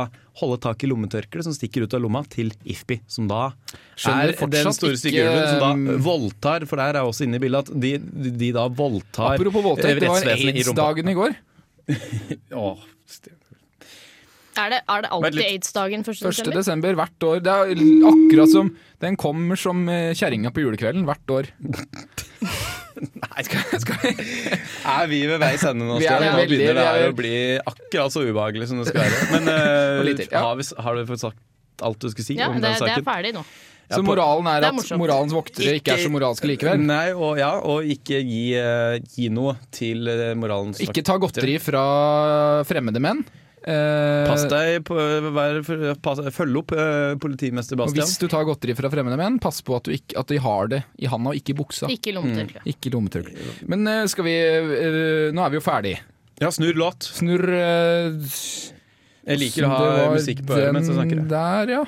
Speaker 4: holde tak i lommetørkleet som stikker ut av lomma til Ifpi, som da
Speaker 3: Skjønner
Speaker 4: er den
Speaker 3: fortsatt
Speaker 4: store
Speaker 3: ikke,
Speaker 4: styggulven som da
Speaker 3: um,
Speaker 4: voldtar, for der er også inne i bildet at de, de, de da voldtar eh,
Speaker 3: Apropos voldtekt, det var
Speaker 4: rettsvesenet i rumpa.
Speaker 3: aids-dagen i går.
Speaker 4: Åh, Sten.
Speaker 2: Er det, er det
Speaker 4: Vent
Speaker 2: alltid
Speaker 4: litt.
Speaker 2: aids-dagen 1.
Speaker 3: 1.
Speaker 2: desember?
Speaker 3: desember hvert år. Det er akkurat som Den kommer som eh, kjerringa på julekvelden hvert år.
Speaker 4: Nei, skal, skal. <laughs> Er vi ved veis ende nå?
Speaker 3: Vi er
Speaker 4: Stian? Nå
Speaker 3: veldig-
Speaker 4: begynner det her
Speaker 3: vi er-
Speaker 4: å bli akkurat så ubehagelig som det skal være.
Speaker 3: <laughs>
Speaker 4: Men eh,
Speaker 3: Og litt til, ja.
Speaker 4: har, vi, har du fått sagt alt du skulle si
Speaker 2: Ja,
Speaker 4: om
Speaker 2: det,
Speaker 4: den
Speaker 2: det er
Speaker 4: saken?
Speaker 2: ferdig nå.
Speaker 3: Så
Speaker 4: på-
Speaker 3: moralen er
Speaker 2: Det er
Speaker 3: at
Speaker 2: morsomt.
Speaker 3: moralens voktere ikke er så moralske likevel.
Speaker 4: Nei, og, ja, og ikke gi, eh, gi noe til eh, moralens
Speaker 3: Ikke ta godteri fra fremmede menn. Eh,
Speaker 4: Pass deg på, vær, for- pass, Følg opp eh, politimester
Speaker 3: og
Speaker 4: Bastian.
Speaker 3: hvis du tar godteri fra fremmede menn, pass på at, du ikke, at de har det i handa og ikke i buksa.
Speaker 2: Ikke lommetørkle.
Speaker 3: Ikke i lommetørkle. Men eh, skal vi eh, Nå er vi jo ferdig.
Speaker 4: Ja, snurr låt.
Speaker 3: Snurr eh,
Speaker 4: Jeg liker å ha
Speaker 3: det var
Speaker 4: musikk på øret mens jeg snakker.
Speaker 3: den Der, ja.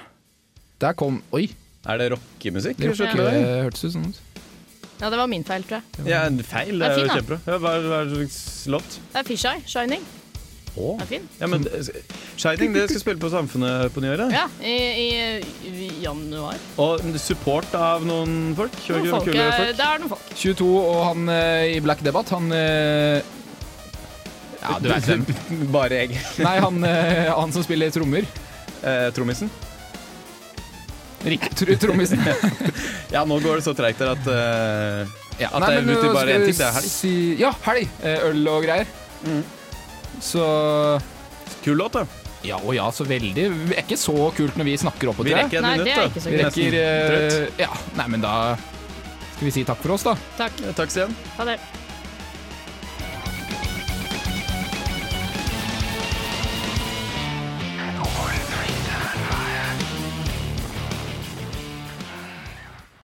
Speaker 3: Der kom Oi,
Speaker 4: Er det rockemusikk?
Speaker 3: det,
Speaker 4: eller
Speaker 3: hørte-
Speaker 4: ikke det?
Speaker 3: det hørtes ut sånn ut.
Speaker 2: Ja, det var min feil, tror jeg.
Speaker 4: Ja, feil. Det
Speaker 2: er
Speaker 4: er
Speaker 2: fin, da.
Speaker 4: jo kjempebra. Ja, Hva hva er det slags låt?
Speaker 2: Det er Fisheye. Shining. Det er fin.
Speaker 4: Ja, men eh, Shining, det skal spille på Samfunnet på nyåret.
Speaker 2: Ja, i, i, i januar.
Speaker 4: Og support av noen folk. Kjører
Speaker 2: Noen
Speaker 4: ikke
Speaker 2: folk,
Speaker 4: kule
Speaker 2: eh,
Speaker 4: folk.
Speaker 2: det er noen folk.
Speaker 3: 22 og han eh, i Black Debate, han eh, Ja, du vet hvem.
Speaker 4: <laughs> Bare jeg.
Speaker 3: <laughs> Nei, han, eh, han som spiller trommer.
Speaker 4: Eh, Trommisen.
Speaker 3: Rikt- tr-
Speaker 4: <laughs>
Speaker 3: Trommisen.
Speaker 4: Ja, nå går det så treigt der at eh,
Speaker 3: Ja,
Speaker 4: At det er ute i
Speaker 3: nå
Speaker 4: bare
Speaker 3: skal
Speaker 4: en
Speaker 3: vi
Speaker 4: ting, det er helg.
Speaker 3: Si, ja, helg. Eh, Øl og greier. Så
Speaker 4: Kul låt, da.
Speaker 3: Ja og ja, så veldig. Det er ikke så kult når vi snakker oppå
Speaker 4: Vi
Speaker 3: tre.
Speaker 4: rekker et
Speaker 2: Nei, det
Speaker 4: minutt,
Speaker 2: er
Speaker 4: da.
Speaker 2: ikke så
Speaker 3: Vi
Speaker 2: kult.
Speaker 3: rekker
Speaker 4: Nesten.
Speaker 3: eh, Ja, nei, men da skal vi si takk for oss, da.
Speaker 2: Takk.
Speaker 4: Trøtt. Takk, Stian.
Speaker 2: Ha det.